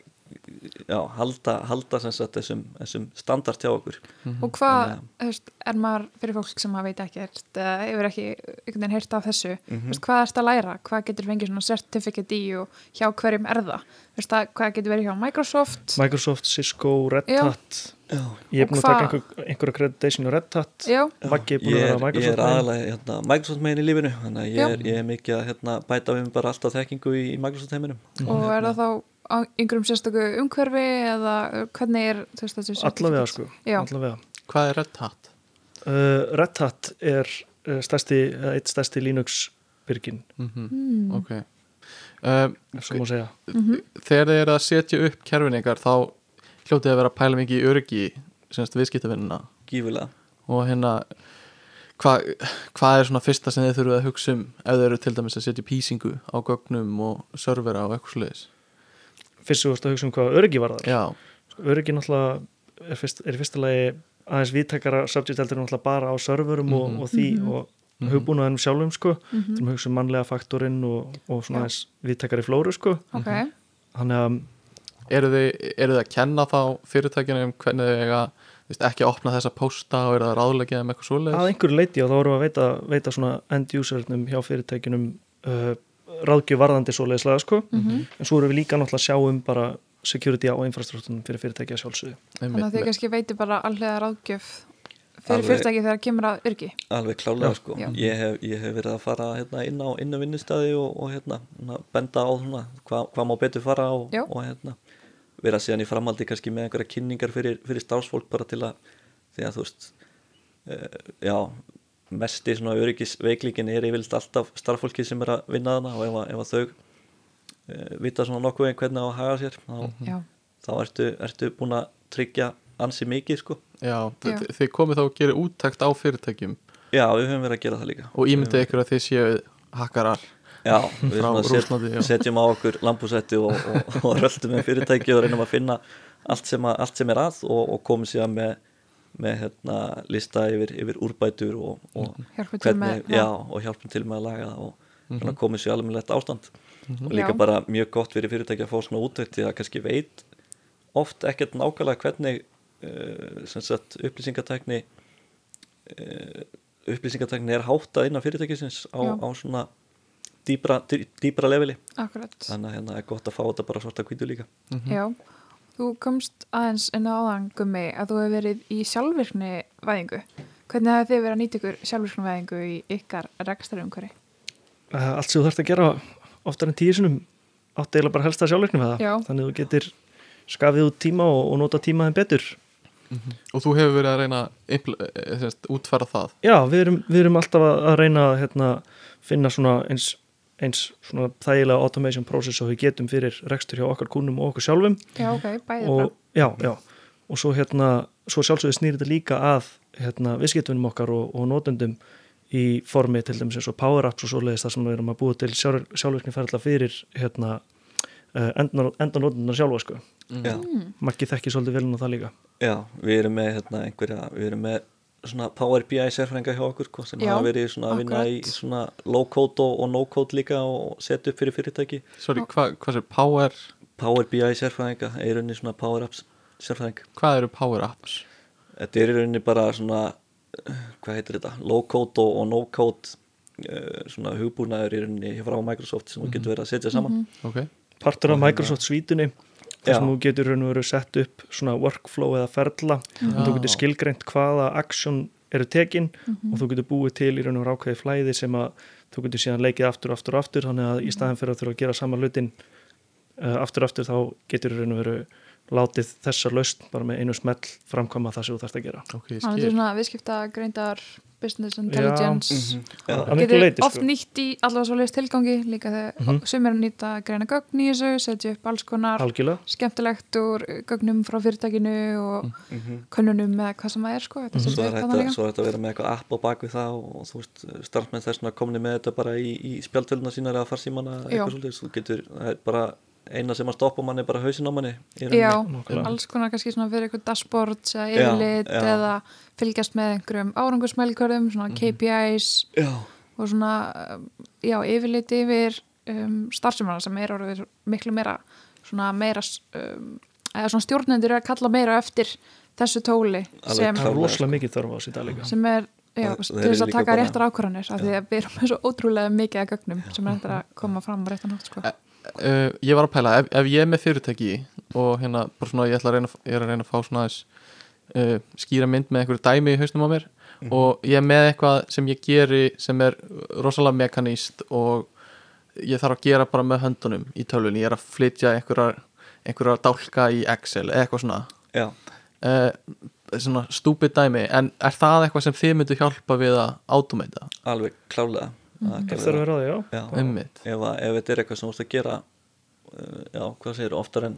Speaker 3: já, halda, halda sem sagt þessum, þessum standart hjá okkur.
Speaker 1: og hvað,
Speaker 3: Þannig
Speaker 1: þú veist, er maður fyrir fólk sem að veit ekkert, eða hefur ekki einhvern veginn heyrt af þessu, þú veist, hvað erst að læra, hvað getur fengið svona certificate í og hjá hverjum er það, þú veist, það- hvað getur verið hjá Microsoft,
Speaker 4: Microsoft, Cisco, Red
Speaker 1: Já.
Speaker 4: Hat
Speaker 3: Já,
Speaker 4: ég er búin
Speaker 1: Og
Speaker 4: að taka
Speaker 1: hvað-
Speaker 4: einhver, einhver accreditation á Red Hat
Speaker 1: já,
Speaker 4: Maggi er
Speaker 3: Ég
Speaker 4: búin að
Speaker 3: er, ég
Speaker 4: vera að
Speaker 3: er
Speaker 4: Microsoft main.
Speaker 3: aðalega hérna, Microsoft megin í lífinu, þannig að ég
Speaker 1: Já.
Speaker 3: er, ég er mikið að hérna, bæta við mig bara alltaf þekkingu í, í Microsoft heiminum.
Speaker 4: Mm.
Speaker 1: og er það þá á einhverjum sérstöku umhverfi eða hvernig er þú veist, þessi
Speaker 4: allavega sko
Speaker 1: Já.
Speaker 4: allavega.
Speaker 2: Hvað er Red Hat?
Speaker 4: Uh, Red Hat er uh, stærsti, eða eitt stærsti Linux byrgin,
Speaker 2: Mhm. Ok um,
Speaker 4: ef svo má segja
Speaker 2: Þegar þið eru að setja upp kerfin ykkar þá hljótið þið að vera að pæla mikið í öryggi semst viðskiptavinnina
Speaker 3: Gífulega.
Speaker 2: og hérna hvað hva er svona fyrsta sem þið þurfið að hugsa um ef þið eru til dæmis að setja písingu á gögnum og servera og eitthvað sliðis
Speaker 4: fyrst þú vorst að hugsa um hvað öryggi var þar
Speaker 2: Já,
Speaker 4: öryggi náttúrulega er, fyrst, er í fyrsta lagi aðeins viðtakara subject heldur en náttúrulega bara á serverum
Speaker 3: Mhm.
Speaker 4: og, og því
Speaker 1: Mhm.
Speaker 4: og hugbúnaðinum sjálfum sko mm -hmm. hugsa um mannlega faktorinn og, og svona
Speaker 1: Já.
Speaker 4: aðeins viðtakari flóru sko
Speaker 1: ok,
Speaker 4: þannig að
Speaker 2: eru þið, eru þið að kenna þá fyrirtækinu um hvernig þið eiga þú veist, ekki að opna þessa pósta og eru það ráðlegið um eitthvað
Speaker 4: að
Speaker 2: svoleiðis
Speaker 4: einhverju leiti og þá vorum við að veita, veita svona end usernum hjá fyrirtækinum uh, ráðgjöf varðandi svo leiðislega sko en svo erum við líka náttúrulega að sjá um bara security á infrastruktúrunum fyrir fyrirtækja sjálfsögðu
Speaker 1: þannig að þið
Speaker 2: Einmitt.
Speaker 1: kannski veitir bara allega ráðgjöf fyrir
Speaker 3: Alveg.
Speaker 1: fyrirtæki þegar kemur að yrki
Speaker 3: Alveg klálega sko,
Speaker 1: Já.
Speaker 3: Ég, hef, ég hef verið að fara hérna, inn á inn á vinnustæði og, og hérna, svona, benda á svona, hvað hva má betur fara og,
Speaker 1: Já.
Speaker 3: og hérna, vera síðan í framhaldi kannski með einhverja kynningar fyrir, fyrir starfsfólk bara til að, því að þú veist, uh, já, mesti svona öryggisveiklingin er yfirleitt alltaf starffólki sem er að vinna þarna og ef, að- ef að þau uh, vita svona nokkuð veginn hvernig á að haga sér, þá,
Speaker 1: já,
Speaker 3: þá ertu, ertu búin að tryggja ansi mikið sko.
Speaker 2: Já, þið-
Speaker 1: Já.
Speaker 2: þið komið þá að gera úttækt á fyrirtækjum
Speaker 3: Já, við höfum verið að gera það líka.
Speaker 2: og ímyndið ykkur að þið séu hakkarar <laughs>
Speaker 3: Já, við
Speaker 2: Frá
Speaker 3: svona
Speaker 2: Rússlandi, já.
Speaker 3: set, setjum á okkur lambúsetti og, og, og röldum með fyrirtæki og reynum að finna allt sem, að, allt sem er að og, og komum síðan með, með hérna, lista yfir, yfir úrbætur og, og,
Speaker 2: Mhm.
Speaker 1: Hjálpum til með- já.
Speaker 3: já, og hjálpum til með að laga það og mm -hmm. komum sér alveg ástand og líka
Speaker 1: Já.
Speaker 3: bara mjög gott fyrir fyrirtæki að fá svona útveitt því að kannski veit oft ekkert nákvæmlega hvernig uh, sem sagt upplýsingatekni uh, upplýsingatekni er háttað innan fyrirtækisins á,
Speaker 1: Já.
Speaker 3: á svona dýbra, dý- dýbra leveli
Speaker 1: akkurat
Speaker 3: þannig að hérna er gott að fá þetta bara svarta kvítu líka
Speaker 1: já, þú komst aðeins inn á áðangummi að þú hefur verið í sjálfvirkni væðingu hvernig hefur þið verið að nýta ykkur sjálfvirkni væðingu í ykkar rekstrarumhverfi
Speaker 4: uh, allt sem þú þarft að gera oftar en tíu sinum átt eiginlega bara helst að sjálfleiknum með það
Speaker 1: Já.
Speaker 4: þannig að þú getur skafið út tíma og, og nota tímaðin betur
Speaker 2: Og þú hefur verið að reyna að impl- eh, sem sagt, útfæra það
Speaker 4: Já, við erum, við erum alltaf að að reyna að hérna, finna svona eins, eins svona þægilega automation process og við getum fyrir rekstur hjá okkar kúnum og okkur sjálfum
Speaker 1: já, ok, bæðið bara
Speaker 4: og, já, já. og svo, hérna, svo sjálfsögðu snýr þetta líka að hérna, viðskiptunum okkar og, og notendum í formi til dæmis eins og power apps og svoleiðis þar sem við erum að búa til sjálf, sjálfvirkni ferðla fyrir hérna, endanótendunar sjálfa sko.
Speaker 3: já.
Speaker 4: Maggi þekki svolítið vel og það líka
Speaker 3: já, við erum með hérna einhverja, við erum með svona Power BI sérfræðinga hjá okkur sko, sem
Speaker 1: Já,
Speaker 3: hafa verið svona að vinna í
Speaker 1: akkurat.
Speaker 3: svona low code og, og no code líka og setja upp fyrir fyrirtæki
Speaker 2: Sorry, hva, hvað sér, power
Speaker 3: Power BI sérfræðinga er unni svona Power Apps sérfræðing
Speaker 2: Hvað eru power apps?
Speaker 3: Þetta er í rauninni bara svona eh, hvað heitir þetta, low-code og, og no-code eh, svona hugbúnaður í rauninni frá Microsoft sem þú
Speaker 1: Mhm.
Speaker 3: getur verið að setja saman
Speaker 2: Ok,
Speaker 4: partur af Microsoft svítunni þar sem
Speaker 3: hérna- Já.
Speaker 4: þú getur raun og veru sett upp svona workflow eða ferla og þú getur skilgreint hvaða action eru tekin
Speaker 1: Mhm.
Speaker 4: og þú getur búið til í raun og veru ákveði flæði sem að þú getur síðan leikið aftur, aftur, og aftur þannig
Speaker 1: Mhm.
Speaker 4: að í staðin fyrir að þurfa að gera sama hlutin uh, aftur, og aftur þá getur raun og veru látið þessa lausn bara með einu smell framkvæma það sem þú þarft að gera
Speaker 2: ok,
Speaker 1: Þannig að
Speaker 2: ég
Speaker 1: þetta er
Speaker 2: skil
Speaker 1: svona viðskipta greindar business intelligence
Speaker 3: Já,
Speaker 4: Að miklu
Speaker 1: getur
Speaker 4: leyti,
Speaker 1: oft
Speaker 4: sko.
Speaker 1: nýtt í allavega svo tilgangi líka þegar mm -hmm. sumir nýta greina gögn í þessu, setja upp alls konar
Speaker 4: algjörlega
Speaker 1: skemmtilegt úr gögnum frá fyrirtækinu og könnunum eða hvað sem Mhm. það er sko, þetta mm
Speaker 4: Mhm.
Speaker 3: svo
Speaker 1: -hmm.
Speaker 3: er, þetta, svo er þetta að vera með eitthvað app á bak við það og, og þú veist, starfmenn þess að komni með þetta bara í, í spjaltöluna sína eða farsímana
Speaker 1: Já.
Speaker 3: eða eitthvað svolítið, þú getur, það er bara eina sem að stoppa manni er bara hausinn á manni í rauninni.
Speaker 1: Já,
Speaker 4: Nákvæmlega.
Speaker 1: alls konar kannski svona fyrir eitthvað dashboard eða
Speaker 3: Já,
Speaker 1: yfirlit
Speaker 3: já. Mhm.
Speaker 1: eða fylgjast með einhverjum árangursmælkörðum svona KPIs
Speaker 3: Já,
Speaker 1: og svona um, já, yfirlit yfir um, starfsumana sem er orðið miklu meira svona meira s- um, eða svona stjórnendur er að kalla meira eftir þessu tóli
Speaker 3: Alveg
Speaker 1: sem,
Speaker 4: það er
Speaker 3: Klárlega, sko.
Speaker 4: rosalega mikið þörf á sér dag líka
Speaker 1: sem er já,
Speaker 3: Það-
Speaker 1: til
Speaker 3: það er
Speaker 1: þess að
Speaker 3: líka
Speaker 1: taka
Speaker 3: bara-
Speaker 1: réttar ákvarðanir af því að við erum með svo ótrúlega mikið að gögnum sem er þetta að koma fram á réttan hátt sko.
Speaker 2: uh, Ég var að pæla, ef, ef ég er með fyrirtæki í og hérna, bara svona, ég ætla að reyna að- ég er að reyna að fá svona aðeins uh, skýra mynd með einhverju dæmi í hausnum á mér og ég er með eitthvað sem ég geri sem er rosalega mekaníst og ég þarf að gera bara með höndunum í tölvunni, ég er að flytja einhverjar einhverjar dálka í Excel eða eitthvað svona
Speaker 3: já,
Speaker 2: uh, svona stúpid dæmi en er það eitthvað sem þið myndu hjálpa við að automata
Speaker 3: alveg klálega
Speaker 1: Mhm.
Speaker 3: mm
Speaker 4: það þarf að vera á því, já
Speaker 3: Já,
Speaker 2: einmitt
Speaker 3: ef, að- ef þetta er eitthvað sem þú ert að gera uh, já, hvað segir, oftar en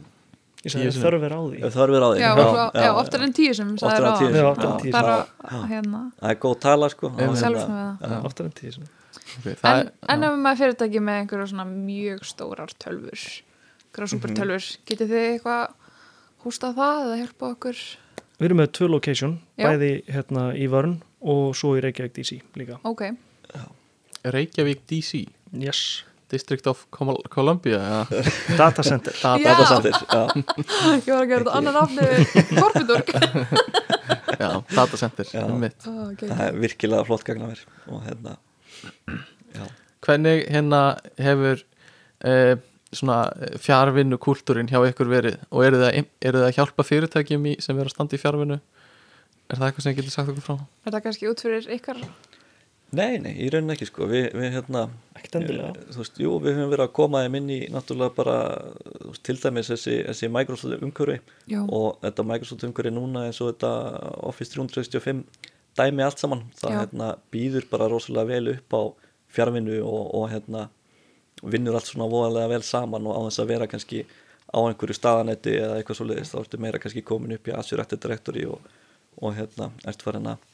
Speaker 4: ég sagði
Speaker 2: Ég-
Speaker 4: þörf er á því
Speaker 3: ef þörf er á því
Speaker 1: Já, já, já, oftar en tíu sem
Speaker 3: Oftar en tíu
Speaker 4: sem,
Speaker 1: Já,
Speaker 4: já,
Speaker 1: oftar en tíu
Speaker 4: já.
Speaker 1: bara hérna
Speaker 3: það er góð tala sko
Speaker 2: Einmitt.
Speaker 3: Það er
Speaker 1: Sjálfsmynd
Speaker 3: hérna-
Speaker 1: með
Speaker 2: Já.
Speaker 4: oftar en tíð svona.
Speaker 2: okay,
Speaker 1: En,
Speaker 2: það
Speaker 1: en ef maður er fyrirtæki með einhverja svona mjög stórar tölfur einhverja
Speaker 3: Mhm.
Speaker 1: supertölfur, getið þið eitthvað hústað það eða hjálpa okkur
Speaker 4: Við erum með tvö location,
Speaker 1: Já.
Speaker 4: bæði hérna í Vörn og svo í Reykjavík DC líka.
Speaker 3: <laughs>
Speaker 1: ok,
Speaker 2: er Reykjavík DC
Speaker 4: Yes.
Speaker 2: District of Col- Columbia ja.
Speaker 3: <laughs>
Speaker 4: Datacenter.
Speaker 2: það,
Speaker 1: Já.
Speaker 2: já.
Speaker 3: Datacentir, já.
Speaker 1: ég var að gera þetta annan
Speaker 3: <laughs>
Speaker 1: afni korfindorg
Speaker 2: Já, datacenter
Speaker 3: Já.
Speaker 2: einmitt.
Speaker 1: okay.
Speaker 3: það er virkilega flott gagnaver og hérna já,
Speaker 2: hvernig hérna hefur uh, svona fjárvinnu kultúrin hjá ykkur verið og eru það, eru það að hjálpa fyrirtækjum í, sem er að standa í fjárvinnu er það eitthvað sem getur sagt okkur frá
Speaker 1: er það kannski út fyrir ykkar
Speaker 3: nei, nei, í rauninni ekki sko við, við hérna
Speaker 4: Ekkert endilega.
Speaker 3: eh, þú veist, jú, við höfum verið að koma þeim inn í náttúrulega bara, þú veist, til dæmis þessi, þessi Microsoft umhverfi
Speaker 1: Já.
Speaker 3: og þetta Microsoft umhverfi núna eins og þetta Office 365 dæmi allt saman, það
Speaker 1: Já.
Speaker 3: hérna býður bara rosalega vel upp á fjárvinnu og, og hérna vinnur allt svona voðalega vel saman og á þess að vera kannski á einhverju staðanetti eða eitthvað svo leiðist, þá ertu meira kannski komin upp í Azure Active Directory og, og hérna, ert farin að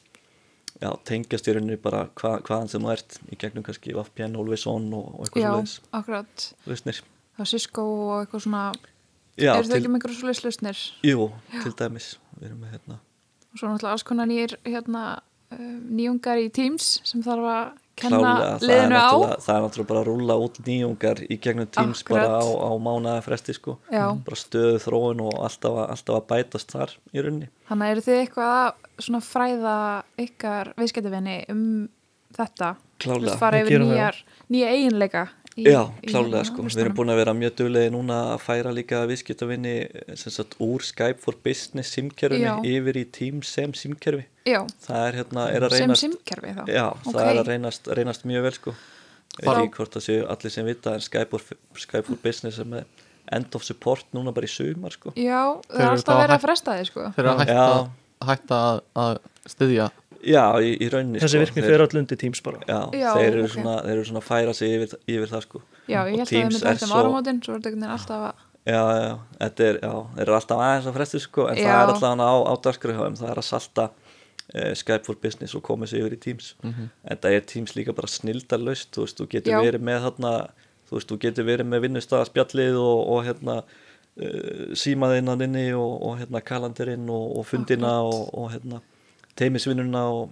Speaker 3: já, tengjast í rauninni bara hva, hvaðan sem þú ert í gegnum kannski VPN, Always On og, og eitthvað
Speaker 1: já,
Speaker 3: svo leiðis
Speaker 1: akkurat,
Speaker 3: lausnir
Speaker 1: það er Cisco og eitthvað svona
Speaker 3: Já,
Speaker 1: eru þau
Speaker 3: til,
Speaker 1: ekki með einhverja svoleiðis lausnir
Speaker 3: jú, til dæmis við erum með hérna
Speaker 1: og svo náttúrulega alls konar nýjir hérna, um, nýjungar í Teams sem þarf að kenna
Speaker 3: klálega, það er,
Speaker 1: liðinu á
Speaker 3: náttúrulega, það er náttúrulega bara að rúla út nýjungar í gegnum Teams bara á,
Speaker 1: Akkurat.
Speaker 3: á mánaða fresti sko
Speaker 1: Já.
Speaker 3: bara stöðu þróun og alltaf, að- alltaf að bætast þar í rauninni
Speaker 1: Þannig eru þið eitthvað að svona fræða ykkar viðskiptavinni um þetta?
Speaker 3: Klárlega.
Speaker 1: Þú veist, fara
Speaker 4: Við
Speaker 1: yfir
Speaker 4: gerum það.
Speaker 1: nýjar, nýja eiginleika í,
Speaker 3: Já, klálega sko, við erum
Speaker 1: listunum.
Speaker 3: búin að vera mjög duglegir núna að færa líka viðskiptavinni sem sagt úr Skype for Business
Speaker 1: Já.
Speaker 3: simkerfinu yfir í Teams sem simkerfi
Speaker 1: Já,
Speaker 3: það er hérna, er að
Speaker 1: sem
Speaker 3: reynast
Speaker 1: simkerfi þá.
Speaker 3: Já, það er að reynast, reynast mjög vel sko Ég veit
Speaker 1: Þá-
Speaker 3: ekki hvort það séu allir sem vita en Skype for, Skype for Business er með end of support núna bara í sumar sko
Speaker 1: Já, það
Speaker 2: Þeir
Speaker 1: er
Speaker 2: eru
Speaker 1: alltaf
Speaker 2: þá
Speaker 1: að vera
Speaker 2: hætt-
Speaker 1: að fresta þið sko.
Speaker 2: þeir eru að hætta,
Speaker 3: Já.
Speaker 2: hætta að, að styðja
Speaker 3: Já, í, í rauninni
Speaker 4: Þessi
Speaker 3: sko,
Speaker 4: virkni
Speaker 3: þeir-
Speaker 4: fyrir allundi Teams bara.
Speaker 3: Já,
Speaker 1: Já,
Speaker 3: þeir, eru
Speaker 1: ok.
Speaker 3: svona, þeir eru svona að færa sig yfir, yfir það sko
Speaker 1: Já, ég held að það er með þetta um áramótin, svo er þetta alltaf að...
Speaker 3: Já, já, þetta er, já, þeir eru alltaf aðeins að fresti sko en
Speaker 1: Já.
Speaker 3: það er alltaf hana á, á dagskræðum það er að salta eh, Skype for Business og koma sig yfir í Teams en það er Teams líka bara snildarlaust þú veist, þú getur
Speaker 1: Mhm. Já.
Speaker 3: verið með þarna þú veist, þú getur verið með vinnustaðaspjallið og, og hérna uh, símaðinnan inni og, og hérna kalandirinn og,
Speaker 1: Mhm.
Speaker 3: og fundina og, og hérna teimisvinnuna og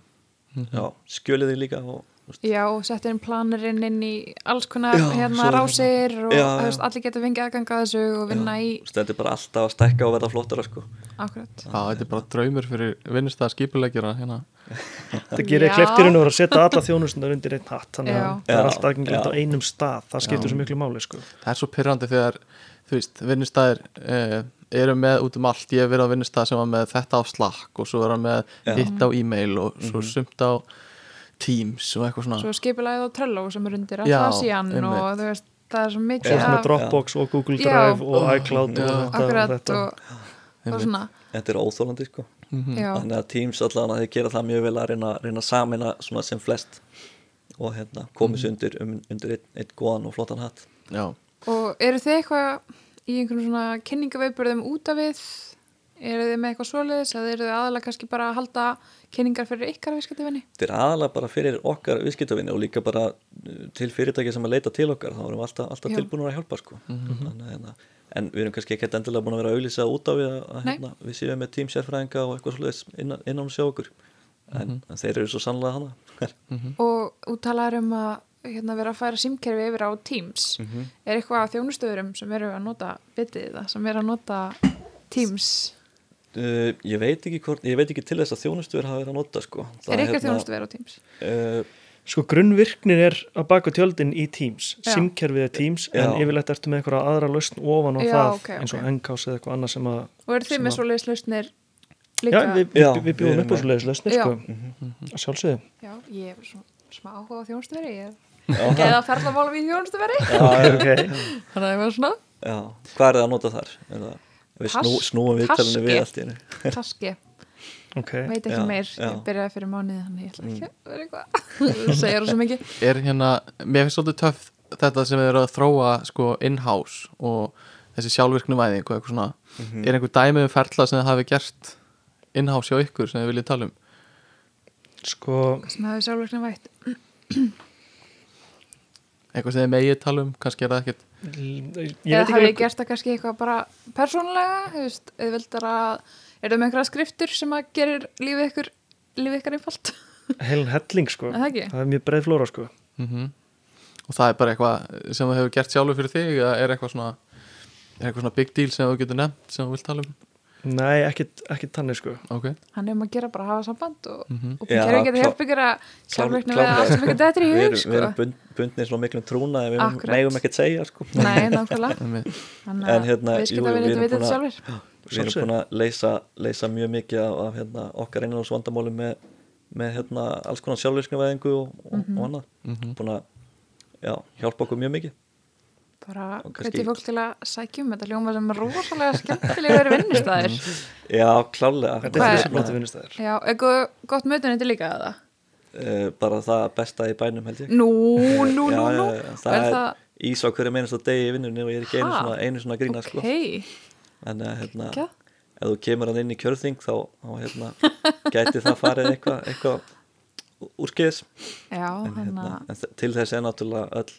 Speaker 3: já, skjöliðin líka og, veist.
Speaker 1: Já, og setja inn planurinn inn í alls konar
Speaker 3: Já, svo
Speaker 1: hérna
Speaker 3: er
Speaker 1: rásir og
Speaker 3: Já,
Speaker 1: já,
Speaker 3: já.
Speaker 1: allir geta fengið aðganga að þessu og vinna
Speaker 3: Þú veist, þetta er bara alltaf að stekka og verða flottara sko.
Speaker 1: í akkurat.
Speaker 2: Já, þetta er bara draumur fyrir vinnustæða skipulegjara hérna.
Speaker 4: Þetta gerir
Speaker 1: Já.
Speaker 4: kleftirinn að vera að setja alla þjónustundar undir einn hatt þannig að
Speaker 1: Já.
Speaker 4: það er
Speaker 3: Já,
Speaker 4: allt aðgengilegt
Speaker 3: já.
Speaker 4: á einum stað það skiptir
Speaker 2: Já.
Speaker 4: svo miklu máli sko.
Speaker 2: Það er svo pyrrandi þegar þú veist, vinnustæðir eh, eru með út um allt, ég hef verið á vinnustæð sem var með þetta á Slack og svo var hann með
Speaker 3: Já.
Speaker 2: hitt á e-mail og svo sumt á Teams og eitthvað svona
Speaker 1: Svo skipulagið og Trello sem er undir
Speaker 2: Já,
Speaker 1: alltaf síðan og
Speaker 2: einmitt.
Speaker 1: þú veist, það er svo
Speaker 4: Svo
Speaker 1: mikið
Speaker 4: er með Dropbox og Google
Speaker 1: Já. Oh.
Speaker 4: Drive og iCloud og
Speaker 2: Já.
Speaker 4: þetta og
Speaker 1: akkurat
Speaker 4: þetta
Speaker 1: og, og svona,
Speaker 3: Þetta er óþólandi sko.
Speaker 1: já,
Speaker 3: Þannig að Teams allan að þeir gera það mjög vel að reyna, reyna samina svona sem flest og hérna komið
Speaker 1: Mhm.
Speaker 3: sér undir, um, undir einn, einn góðan og flottan hatt.
Speaker 2: Já,
Speaker 1: Og eru þið eitthvað í einhverjum svona kynningaveipurðum út af við? Eru þið með eitthvað svoleiðis eða eru þið aðalega kannski bara að halda kynningar fyrir ykkar viðskiptavinni?
Speaker 3: Þetta er aðalega bara fyrir okkar viðskiptavinni og líka bara uh, til fyrirtæki sem að leita til okkar þá erum við alltaf, alltaf
Speaker 1: Já. Mhm.
Speaker 3: tilbúinur að hjálpa sko. Þannig að, hérna, en við erum kannski ekkert endilega búin að vera að auðlýsa út af við að, að
Speaker 1: Nei.
Speaker 3: hérna, við séum með tímsérfræðinga og eitthvað svolítið innan, innan og sjá okkur en,
Speaker 1: Mhm.
Speaker 3: en þeir eru svo sannlega hana <laughs>
Speaker 1: Og, og talaður um að hérna, vera að færa símkerfi yfir á Teams. Er eitthvað af þjónustöðurum sem eru að nota, vitið það, sem eru að nota Teams?
Speaker 3: uh, ég, veit ekki hvort, ég veit ekki til þess að þjónustuver hafa verið að nota sko. Það
Speaker 1: er ykkar
Speaker 3: hérna,
Speaker 1: hérna, þjónustöður á Teams?
Speaker 3: uh, <laughs>
Speaker 4: Sko grunnvirknin er að baka tjöldin í Teams,
Speaker 1: Já.
Speaker 4: simkerfið er Teams
Speaker 3: Já.
Speaker 4: en yfirleitt ertu með einhverja aðra lausn ofan á
Speaker 1: Já,
Speaker 4: það
Speaker 1: ok,
Speaker 4: eins og
Speaker 1: ok.
Speaker 4: NKS eða eitthvað annað sem að
Speaker 1: Og eru þið
Speaker 4: sem
Speaker 1: með
Speaker 4: að-
Speaker 1: svoleiðis lausnir
Speaker 4: Já,
Speaker 1: líka?
Speaker 4: við, við,
Speaker 3: Já, Mhm.
Speaker 4: við
Speaker 3: við
Speaker 4: bjóðum
Speaker 3: erum
Speaker 4: upp á
Speaker 3: með-
Speaker 4: svoleiðis lausnir
Speaker 1: Já.
Speaker 4: sko, að sjálfsögðu
Speaker 1: Já, ég er svona smá áhuga á þjónustöðuri, ég er geða að ferla málum í þjónustöðveri.
Speaker 4: okay.
Speaker 1: Þannig að ég var
Speaker 3: <laughs>
Speaker 1: svona,
Speaker 3: já, hvað er það að nota þar? Er það, við snú,
Speaker 1: Task-
Speaker 3: snúum viðtalinu við
Speaker 1: taski.
Speaker 3: allt í hennu
Speaker 1: taski.
Speaker 4: ok,
Speaker 1: veit ekki
Speaker 3: Já,
Speaker 1: meir,
Speaker 3: já. Mm.
Speaker 1: ég byrjaði fyrir mánuði þannig ég ætla ekki að vera eitthvað <laughs> þú segir það sem ekki
Speaker 2: er hérna, mér finnst svolítið töff þetta sem er að þróa sko in-house og þessi sjálfvirknu væðing og eitthvað svona, er einhver dæmi um ferla sem þið hafi gert in-house hjá ykkur sem þið viljið tala um
Speaker 4: sko
Speaker 1: sem hafi sjálfverknin vætt
Speaker 2: eitthvað sem þið megið tala um, kannski er það ekkert
Speaker 4: ég
Speaker 1: eða
Speaker 4: veit
Speaker 1: hafi
Speaker 4: ekki
Speaker 1: ég gert það kannski eitthvað bara persónulega, þú veist, auðveldar að er það með einhverja skriftur sem að gerir lífið ykkur, lífið ykkar einfalt
Speaker 4: heilin helling sko,
Speaker 1: Er það ekki?
Speaker 4: það er mjög breið flóra sko
Speaker 2: -hmm. og það er bara eitthvað sem þú hefur gert sjálfur fyrir þig eða er eitthvað svona, er eitthvað svona big deal sem þú getur nefnt sem þú vilt tala um
Speaker 4: nei, ekkit, ekkit tannig sko
Speaker 2: okay.
Speaker 1: hann er um að gera bara að hafa samband og,
Speaker 2: Mhm.
Speaker 1: og
Speaker 3: Já,
Speaker 1: kerfi getur
Speaker 3: klá-
Speaker 1: hjálp ykkur að sjálfverknin við
Speaker 3: klárlega.
Speaker 1: allt sem ykkur dettir í
Speaker 3: Við
Speaker 1: hug
Speaker 3: erum, við
Speaker 1: sko.
Speaker 3: erum bund, bundnir svona miklum trúna en við
Speaker 1: Akkurat.
Speaker 3: megum ekkert segja sko.
Speaker 1: nei, nákvæmlega
Speaker 2: Einmitt.
Speaker 1: þannig
Speaker 3: En
Speaker 1: að
Speaker 3: hérna,
Speaker 1: við
Speaker 3: jú,
Speaker 1: skilta
Speaker 3: við
Speaker 1: við
Speaker 3: erum
Speaker 1: þetta við
Speaker 3: búin að-
Speaker 1: sjálfur
Speaker 3: Við erum
Speaker 4: Sjálfsögðu.
Speaker 3: búin að leysa, leysa mjög mikið af, af hérna, okkar innanás vandamálum með, með hérna, alls konar sjálfvirknavæðingu og, og,
Speaker 1: Mhm.
Speaker 3: og annað
Speaker 4: Mhm.
Speaker 3: búin að já, hjálpa okkur mjög mikið
Speaker 1: bara
Speaker 3: Og kannski-
Speaker 1: hvetja fólk til að sækjum þetta hljóma sem rosalega skemmtilegur <laughs> vinnustæðir
Speaker 3: Já, klálega
Speaker 4: þetta er
Speaker 1: er-
Speaker 4: þessi blóti vinnustæðir
Speaker 1: Já, eitthvað gott mötunetti líka að það?
Speaker 3: Eh, bara það besta í bænum held ég
Speaker 1: Nú, nú, nú,
Speaker 3: Já,
Speaker 1: nú.
Speaker 3: já, já, það
Speaker 1: er
Speaker 3: er
Speaker 1: það,
Speaker 3: ís á hverju meinast að degi í vinnunni og ég er ekki einu
Speaker 1: Ha?
Speaker 3: svona, einu svona
Speaker 1: ok,
Speaker 3: að grína sko. en að, hérna,
Speaker 1: Kekja.
Speaker 3: ef þú kemur hann inn í kjörþing þá, þá hérna, gæti það farið eitthvað eitthva úrskeiðis
Speaker 1: já,
Speaker 3: en,
Speaker 1: hann
Speaker 3: hérna,
Speaker 1: að,
Speaker 3: en þe- til þess er náttúrulega öll,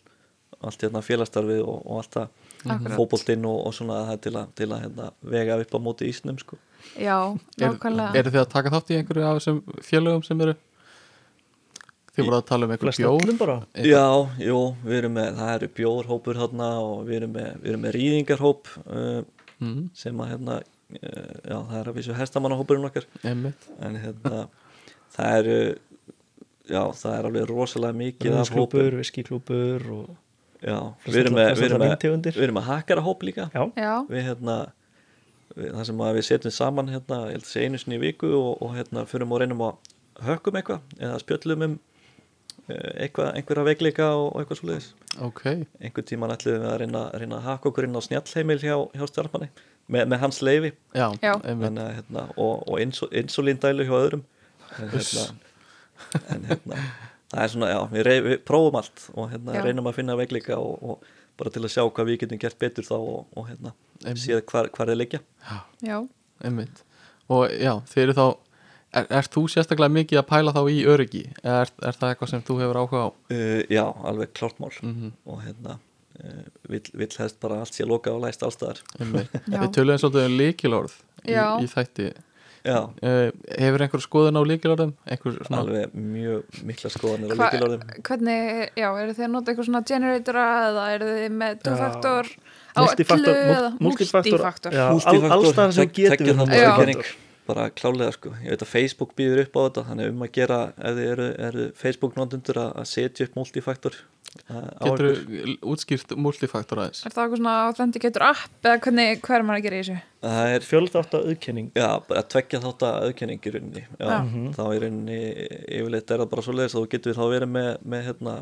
Speaker 3: allt hérna, félastarfið og, og allt það
Speaker 1: Akkurat.
Speaker 3: fótboltinn og, og svona það er til að, til að hérna, vega upp á móti ísnum sko.
Speaker 1: já,
Speaker 2: er,
Speaker 1: nákvæmlega.
Speaker 2: eru þið að taka þátt í einhverju af þessum félögum sem eru þið voru að tala um einhver
Speaker 4: flest öllum
Speaker 2: bjór
Speaker 4: bara
Speaker 2: Eitthvað-
Speaker 3: Já, jú, við erum með, það eru bjórhópur þarna og við erum með, við erum með rýðingarhóp uh,
Speaker 2: Mhm,
Speaker 3: sem að hérna, uh, já, það er að vísu hestamannahópurinn okkar
Speaker 2: einmitt.
Speaker 3: en hérna það eru já, það er alveg rosalega mikið af hópur
Speaker 4: rúðsklúpur, viskiklúpur og
Speaker 3: já,
Speaker 4: Flestar-
Speaker 3: við erum með,
Speaker 4: flestar
Speaker 3: við erum með,
Speaker 4: víntegundir.
Speaker 3: við erum með hakkara hóp líka
Speaker 4: já,
Speaker 1: Já,
Speaker 3: við hérna við, það sem að við setjum saman hérna ég held að segja einu sinni í viku og, og hérna förum og reynum að hökkum eitthvað eða spjöllum um eh, eitthvað, einhverja veikleika og, og eitthvað svoleiðis
Speaker 2: ok,
Speaker 3: einhver tíman ætluðum við að reyna, reyna að hakka okkur inn á snjallheimil hjá, hjá stjálfmanni með, með hans leifi
Speaker 2: já,
Speaker 1: Já.
Speaker 2: einmitt.
Speaker 3: Þannig að, hérna, og, og insu, insulindælu hjá öðrum en hérna, en, hérna það er svona, já, við, rey, við prófum allt og hérna,
Speaker 1: Já.
Speaker 3: reynum að finna veikleika og, og bara til að sjá hvað við getum gert betur þá og, og hérna,
Speaker 2: Einmitt.
Speaker 3: séð hvar, hvar þeir leggja
Speaker 1: já,
Speaker 2: einmitt og já, þið eru þá er, er þú sérstaklega mikið að pæla þá í öryggi er, er það eitthvað sem þú hefur áhuga á
Speaker 3: uh, já, alveg klart mál
Speaker 2: Mhm.
Speaker 3: og hérna uh, vill, vill helst bara allt sé lokað og læst allstaðar
Speaker 2: einmitt.
Speaker 1: Já.
Speaker 2: við töluðum svolítið um líkilorð í,
Speaker 1: Já.
Speaker 2: í þætti
Speaker 3: já,
Speaker 2: uh, hefur einhver skoðun á líkilorðum einhver svona
Speaker 3: alveg mjög mikla skoðanir á
Speaker 1: Hva-
Speaker 3: líkilorðum
Speaker 1: Hvernig, já, eru þið að nota eitthvað svona generatora eða eru þið með two-factor á
Speaker 4: Multifaktor,
Speaker 1: öllu eða
Speaker 4: mul- multifaktor.
Speaker 1: multifaktor?
Speaker 4: Já.
Speaker 3: Multifaktor,
Speaker 4: alls staðar sem
Speaker 3: tve-
Speaker 4: getum
Speaker 3: tveggja
Speaker 4: við
Speaker 3: þátta
Speaker 1: það. Já.
Speaker 3: aðgreining, bara klálega sko ég veit að Facebook býður upp á þetta þannig um að gera ef þið eru, eru Facebook notendur að að setja upp multifaktor uh,
Speaker 2: getur útskýrt multifaktor aðeins
Speaker 1: Er það eitthvað svona authenticator app eða hvernig, hvað er maður að gera í þessu?
Speaker 3: það er
Speaker 4: fjöldátt að auðkenning
Speaker 3: Já, bara tveggja þátt að auðkenning í rauninni já,
Speaker 1: Já.
Speaker 3: þá í rauninni yfirleitt er það bara svo leiðis þú getur þá verið með, með hérna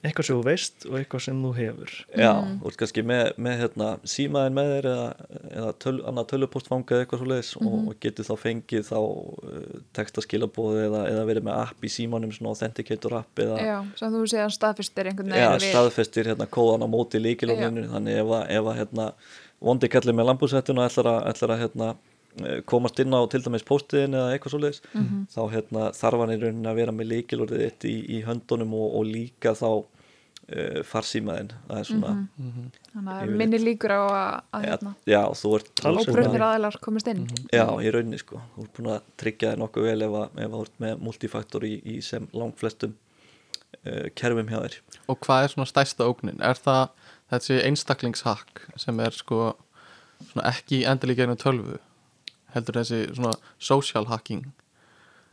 Speaker 4: eitthvað sem þú veist og eitthvað sem þú hefur
Speaker 3: já, þú ert kannski með, með hérna, símaðin með þér eða, eða töl, annað tölupostfanga eða eitthvað svo leiðis og, og getur þá fengið þá uh, textaskilabóð eða, eða verið með app í símanum svona authenticator app eða
Speaker 1: Já, sem þú séðan staðfyrstir einhvern
Speaker 3: Já,
Speaker 1: við-
Speaker 3: staðfestir hérna kóðan á móti líkilóninu þannig ef að, ef að hérna, vondi kallir með lambúsettuna ætlar að, ætlar að hérna, eh, komast inn á til dæmis póstiðin eða eitthvað svoleiðis
Speaker 1: Mhm.
Speaker 3: þá hérna, þarf hann í rauninni að vera með líkilorðið þitt í, í höndunum og, og líka þá uh, farsýmaðin það er svona
Speaker 1: Þannig að
Speaker 3: Yfirleitt.
Speaker 1: minni líkur Mhm. á að, að hérna,
Speaker 3: já, já, þú ert
Speaker 4: Talsvert
Speaker 3: svona-
Speaker 1: óbrunir aðeinar komist inn.
Speaker 3: Já, í rauninni sko, þú ert búin að tryggja þér nokkuð vel ef að, ef að þú ert með multifaktor í, í sem langflestum uh, kerfum hjá þér
Speaker 2: og hvað er svona stærsta ógnin er það þessi einstaklingshakk sem er sko svona ekki endilíka einu tölvu heldur þessi svona social hacking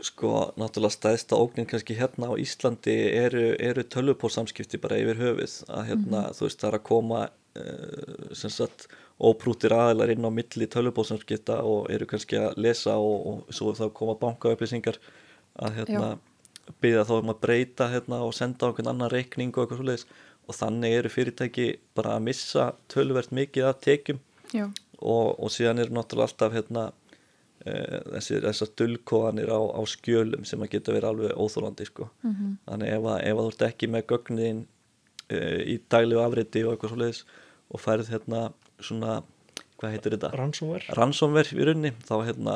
Speaker 3: Sko, náttúrulega stæðsta ógnin kannski hérna á Íslandi eru, eru tölvupórsamskipti bara yfir höfuð að hérna, þú veist, það er að koma uh, sem sagt óprútir aðilar inn á milli tölvupórsamskipta og eru kannski að lesa og, og svo þá koma bankaupplýsingar að hérna byggja þá um að breyta hérna og senda á einhvern annan reikning og eitthvað svoleiðis og þannig eru fyrirtæki bara að missa tölvuvert mikið af tekjum
Speaker 1: Já,
Speaker 3: og, og síðan eru náttúrulega alltaf hérna, uh, þessi, þessar dullkóðanir á, á skjölum sem að geta verið alveg óþólandi sko. þannig ef, að, ef að þú ert ekki með gögnin uh, í daglegu afriti og eitthvað svoleiðis og færð hérna svona, hvað heitir þetta?
Speaker 4: rannsóver
Speaker 3: ransomver í rauninni þá hérna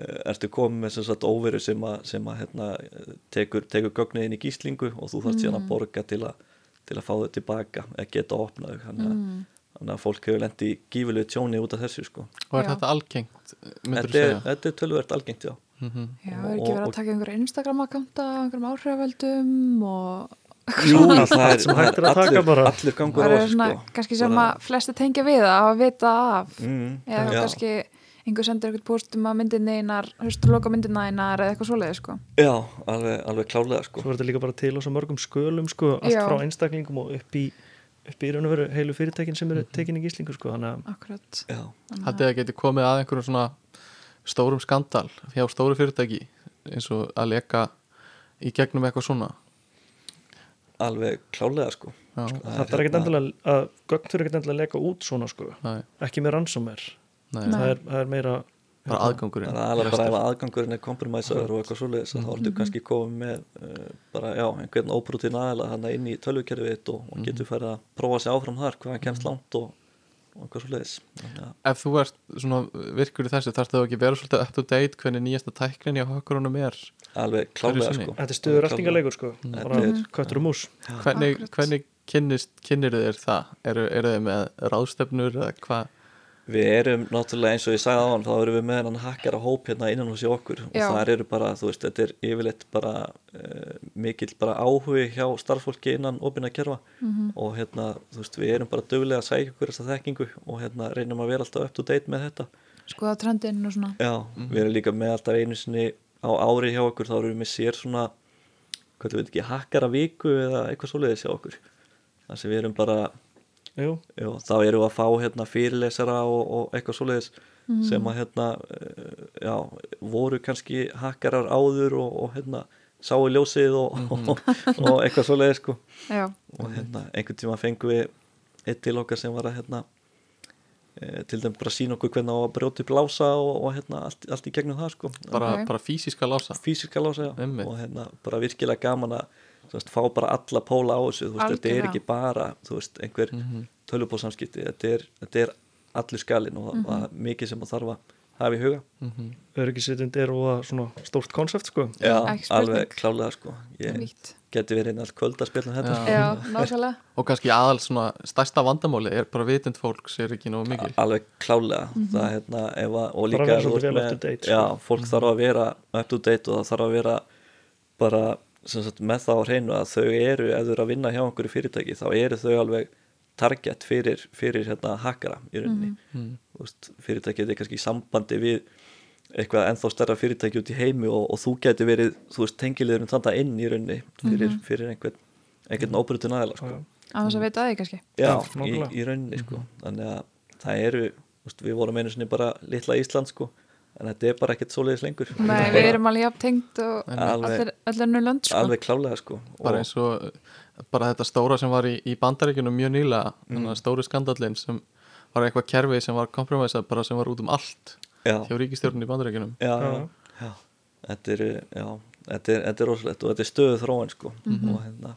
Speaker 3: eh, ertu komið með sem sagt óveru sem að, sem að hérna, eh, tekur, tekur gögnið inn í gíslingu og þú þarft
Speaker 1: Mm.
Speaker 3: síðan að borga til að, til að fá þau tilbaka eða geta opnað þau þannig,
Speaker 1: Mm.
Speaker 3: að, þannig að fólk hefur lendi gífulegu tjóni út af þessu sko
Speaker 2: og er
Speaker 1: Já.
Speaker 2: þetta algengt myndur
Speaker 3: þetta
Speaker 2: þú
Speaker 3: er,
Speaker 2: segja
Speaker 3: þetta er tölvert algengt já
Speaker 4: Mhm.
Speaker 1: já
Speaker 3: Og-
Speaker 1: er ekki verið
Speaker 3: og-
Speaker 1: að taka einhverja Instagram-akkanta, einhverjum áhrifaldum og
Speaker 3: Jú, það er,
Speaker 4: sem hægt er að taka
Speaker 3: allur,
Speaker 4: bara.
Speaker 3: allur gangur á
Speaker 1: það er
Speaker 3: þessu
Speaker 1: svona
Speaker 3: sko
Speaker 1: kannski sem
Speaker 3: Bara-
Speaker 1: að flesti tengja við að hafa vita af.
Speaker 3: Mm,
Speaker 1: eða
Speaker 3: já.
Speaker 1: kannski einhver sendur eitthvað póstum um að myndinni einar, höstu loka myndinna einar eða eitthvað svoleiði sko.
Speaker 3: Já, alveg, alveg klálega sko
Speaker 4: svo verður þetta líka bara til á svo mörgum skölum sko, allt
Speaker 1: Já.
Speaker 4: frá einstaklingum og upp í upp í raun og veru heilu fyrirtækin sem eru tekinni gíslingu sko, þannig að
Speaker 1: Akkurat.
Speaker 3: Já,
Speaker 2: haldið að geti komið að einhverjum svona stórum skandal hjá stóru fyrirtæki eins og að leka í gegnum eitthvað svona
Speaker 3: alveg klálega sko
Speaker 2: Já.
Speaker 3: Sko,
Speaker 4: það þarf ekkert endilega að gögn þurfa ekkert endilega að leka út svona sko,
Speaker 2: nei,
Speaker 4: ekki með rannsómer
Speaker 2: nei,
Speaker 1: Nei.
Speaker 4: það er, það er meira
Speaker 2: bara aðgangurinn
Speaker 3: Það er alveg bara ef aðgangurinn er kompromisaður og eitthvað svoleiðis að þá ertu
Speaker 4: Mhm.
Speaker 3: kannski komið með uh, bara, já, einhvern óbrútin aðeila hann inn í tölvukerfið þitt og, og getur færið að prófa sig áfram þar hvað hann kemst langt og, og eitthvað svoleiðis Þannig að-
Speaker 2: ef þú ert svona virkur í þessu þarf það ekki að vera svolítið up to date hvernig nýjasta tæknin hjá hökkurunum er
Speaker 3: Alveg klálega
Speaker 2: sinni.
Speaker 3: sko
Speaker 4: þetta er stöður rættingarleikur sko, bara
Speaker 3: Þetta er-
Speaker 4: köttur og mús
Speaker 2: hvernig,
Speaker 1: Akkurat.
Speaker 2: hvernig kynnist, kynnir þér það eru, eru þið með ráðstefnur eða hvað
Speaker 3: Við erum náttúrulega eins og ég sagði á hann þá erum við með hann hakkar að hóp hérna innan hos í okkur
Speaker 1: Já.
Speaker 3: og þar eru bara, þú veist, þetta er yfirleitt bara uh, mikill bara áhugi hjá starffólki innan opina kerfa
Speaker 4: Mhm.
Speaker 3: og hérna, þú veist, við erum bara dögulega að sækja okkur þessa þekkingu og hérna reynum að vera alltaf up to date með þetta
Speaker 1: Skoða trendin og svona.
Speaker 3: Já, við erum líka með alltaf einu sinni á ári hjá okkur, þá erum við með sér svona, hvað þú veit ekki, hakkara viku eða eitthvað svoleiðis hjá okkur. Þannig sem við erum bara,
Speaker 4: Jú,
Speaker 3: já, þá erum við að fá hérna fyrirlesara og, og eitthvað svoleiðis sem að hérna, eh, já, voru kannski hakkarar áður og, og hérna sáu ljósið og, og, <laughs> og eitthvað svoleiðis sko
Speaker 1: Já,
Speaker 3: og hérna einhvern tíma fengum við eitt til okkar sem var að hérna eh, til dæmis bara sína okkur hvernig á að brjóti upp lása og, og hérna allt, allt í gegnum það sko
Speaker 2: bara,
Speaker 1: Ok.
Speaker 2: bara físiska lása
Speaker 3: fysiska lása já
Speaker 2: Einmitt.
Speaker 3: og hérna bara virkilega gaman að þú veist, fá bara alla póla á þessu þú veist, þetta er
Speaker 1: Algjörlega.
Speaker 3: ekki bara þú veist, einhver mm
Speaker 2: Mhm.
Speaker 3: þetta er, þetta er allur skalinn og mm -hmm. mikið sem að þarf að hafa í huga
Speaker 2: Mhm.
Speaker 4: öryggisvitund er og svona stórt konsept sko
Speaker 3: já,
Speaker 1: Ekki spurning.
Speaker 3: alveg klálega sko ég
Speaker 1: nýtt.
Speaker 3: geti verið einn allt kvöld að spila um þetta
Speaker 2: Já.
Speaker 1: Já, nákvæmlega
Speaker 2: og kannski aðal svona stærsta vandamáli er bara vitund fólks er ekki nógu mikil
Speaker 3: alveg klálega það, hérna, ef að, og líka
Speaker 4: vera
Speaker 3: ef þú
Speaker 4: svolítið
Speaker 3: ert
Speaker 4: vel
Speaker 3: með-
Speaker 4: up to date, sko.
Speaker 3: já, fólk þarf að vera up to date og það þarf að vera bara sem sagt, með það á hreinu að þau eru ef þau eru að vinna hjá einhverju fyrirtæki þá eru þau alveg target fyrir, fyrir hérna, hakara í rauninni Þú veist, fyrirtækið er kannski í sambandi við eitthvað ennþá stærra fyrirtæki út í heimi og, og þú geti verið, þú veist, tengiliðurinn þannig inn í rauninni fyrir, fyrir einhvern, einhvern óbrutin aðeila sko.
Speaker 4: Já, já.
Speaker 1: á þess að vita að því kannski
Speaker 3: Já,
Speaker 4: Já,
Speaker 3: í,
Speaker 4: nákvæmlega.
Speaker 3: í rauninni sko
Speaker 2: Mhm.
Speaker 3: þannig að það eru, úst, við vorum einu sinni bara litla Ísland sko en þetta er bara ekkert svoleiðis lengur
Speaker 1: Nei, við erum alveg jafn tengt og
Speaker 3: Alveg.
Speaker 1: allir, allir nú lönd sko.
Speaker 3: alveg klálega sko
Speaker 2: bara eins og uh, bara þetta stóra sem var í, í bandaríkjunum mjög nýlega
Speaker 3: Mm.
Speaker 2: þannig að stóri skandallin sem var eitthvað kerfi sem var kompromisað bara sem var út um allt
Speaker 3: já,
Speaker 2: hjá ríkistjórnum í bandaríkjunum
Speaker 3: já, já,
Speaker 4: Já.
Speaker 3: já. Þetta, er, já þetta, er, þetta er rosalegt og þetta er stöðu þróin sko
Speaker 1: Mhm.
Speaker 3: og hérna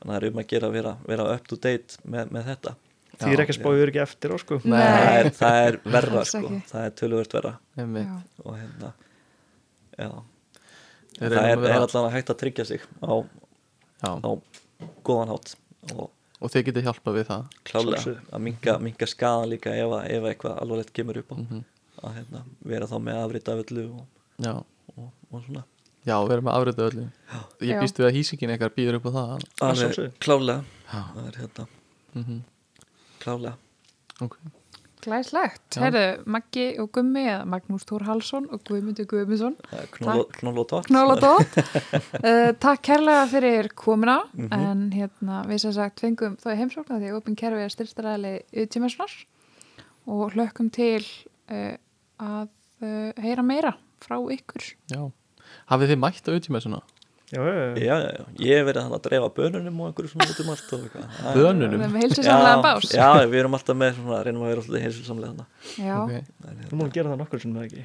Speaker 3: þannig að það er um að gera að vera, vera up to date með, með þetta
Speaker 4: því er ekki að spája ekki eftir á sko
Speaker 1: Nei.
Speaker 3: það er, það er verra
Speaker 1: Alls
Speaker 3: sko
Speaker 1: ekki.
Speaker 3: það er töluvert verra
Speaker 2: Einmitt.
Speaker 1: Já.
Speaker 3: og hérna já,
Speaker 2: Þeir
Speaker 3: það er,
Speaker 2: reynum að vera-
Speaker 3: er allan hægt að tryggja sig á, á
Speaker 2: Já.
Speaker 3: góðan hátt og
Speaker 2: og þeir getið hjálpað við það
Speaker 3: klálega
Speaker 4: Sjálfsögðu. Mhm.
Speaker 3: að minga, minga skaðan líka ef, að- ef að eitthvað alvarlegt kemur upp á að hérna, vera þá með afrið af öllu og,
Speaker 2: já,
Speaker 3: og, og svona
Speaker 2: já við erum að afrita öllu
Speaker 1: Já.
Speaker 2: ég býst við að hýsingin eitthvað býður upp á það
Speaker 4: Að
Speaker 3: alveg
Speaker 4: sjálfsögðu.
Speaker 3: klálega
Speaker 2: Já.
Speaker 3: það er hérna
Speaker 2: mm
Speaker 3: klálega
Speaker 2: okay.
Speaker 1: Glæslegt,
Speaker 2: Já.
Speaker 1: herðu, Maggi og Gummi eða Magnús Þór Hallsson og Guðmundur Guðmundsson
Speaker 3: Það er knoll- knoll og tótt
Speaker 1: Knóla Dótt
Speaker 2: <laughs>
Speaker 1: uh, Takk kærlega fyrir komuna
Speaker 2: Mhm.
Speaker 1: en hérna við sem sagt fengum þá í heimsókna því að Open Kerfi er styrstaræðileg yðtímessunar og hlökkum til uh, að uh, heyra meira frá ykkur
Speaker 2: já hafið þið mætt á auðtíma svona
Speaker 4: já, já, já.
Speaker 3: já, já, já. ég hef verið þannig að dreifa bönunum og einhverju svona út um allt og eitthvað. Það er-
Speaker 2: bönunum
Speaker 1: með heilsusamlega um bás
Speaker 3: já, já, við erum alltaf með svona, reynum að vera alltaf heilsusamlega þannig
Speaker 1: Já.
Speaker 2: Ok.
Speaker 4: Þú múlum gera það nokkur sem það ekki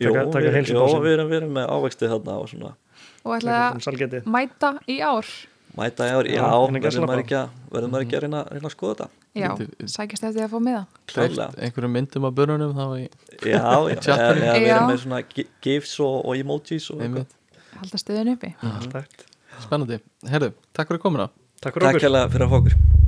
Speaker 3: Jó,
Speaker 4: Taka- taka
Speaker 3: við,
Speaker 4: heilsubásinn.
Speaker 3: jó, við erum, við erum með ávexti þarna og svona
Speaker 1: og
Speaker 4: Taka
Speaker 1: ætlaði
Speaker 4: svona
Speaker 1: að
Speaker 4: Salgeti
Speaker 1: mæta í ár
Speaker 3: mæta í ár, já,
Speaker 4: Já, en Mhm. ekki að
Speaker 3: verðum maður
Speaker 4: slappa.
Speaker 3: ekki að verðum maður ekki að reyna, reyna að skoða þetta
Speaker 1: Já,
Speaker 2: Bíddu,
Speaker 1: sækjast eftir að fá með það
Speaker 2: Dreift
Speaker 3: klálega
Speaker 2: einhverjum myndum af bönunum þá í
Speaker 3: Já, já,
Speaker 2: Chattanum.
Speaker 3: eða við
Speaker 1: Já.
Speaker 3: erum með svona gi- gifs og, og emojis og eitthvað.
Speaker 2: einmitt
Speaker 1: halda stöðun uppi
Speaker 4: Takk
Speaker 2: spennandi herðu, takk fyrir komuna
Speaker 4: Takk fyrir
Speaker 3: Takk
Speaker 4: okkur
Speaker 3: hérlega fyrir að fá okkur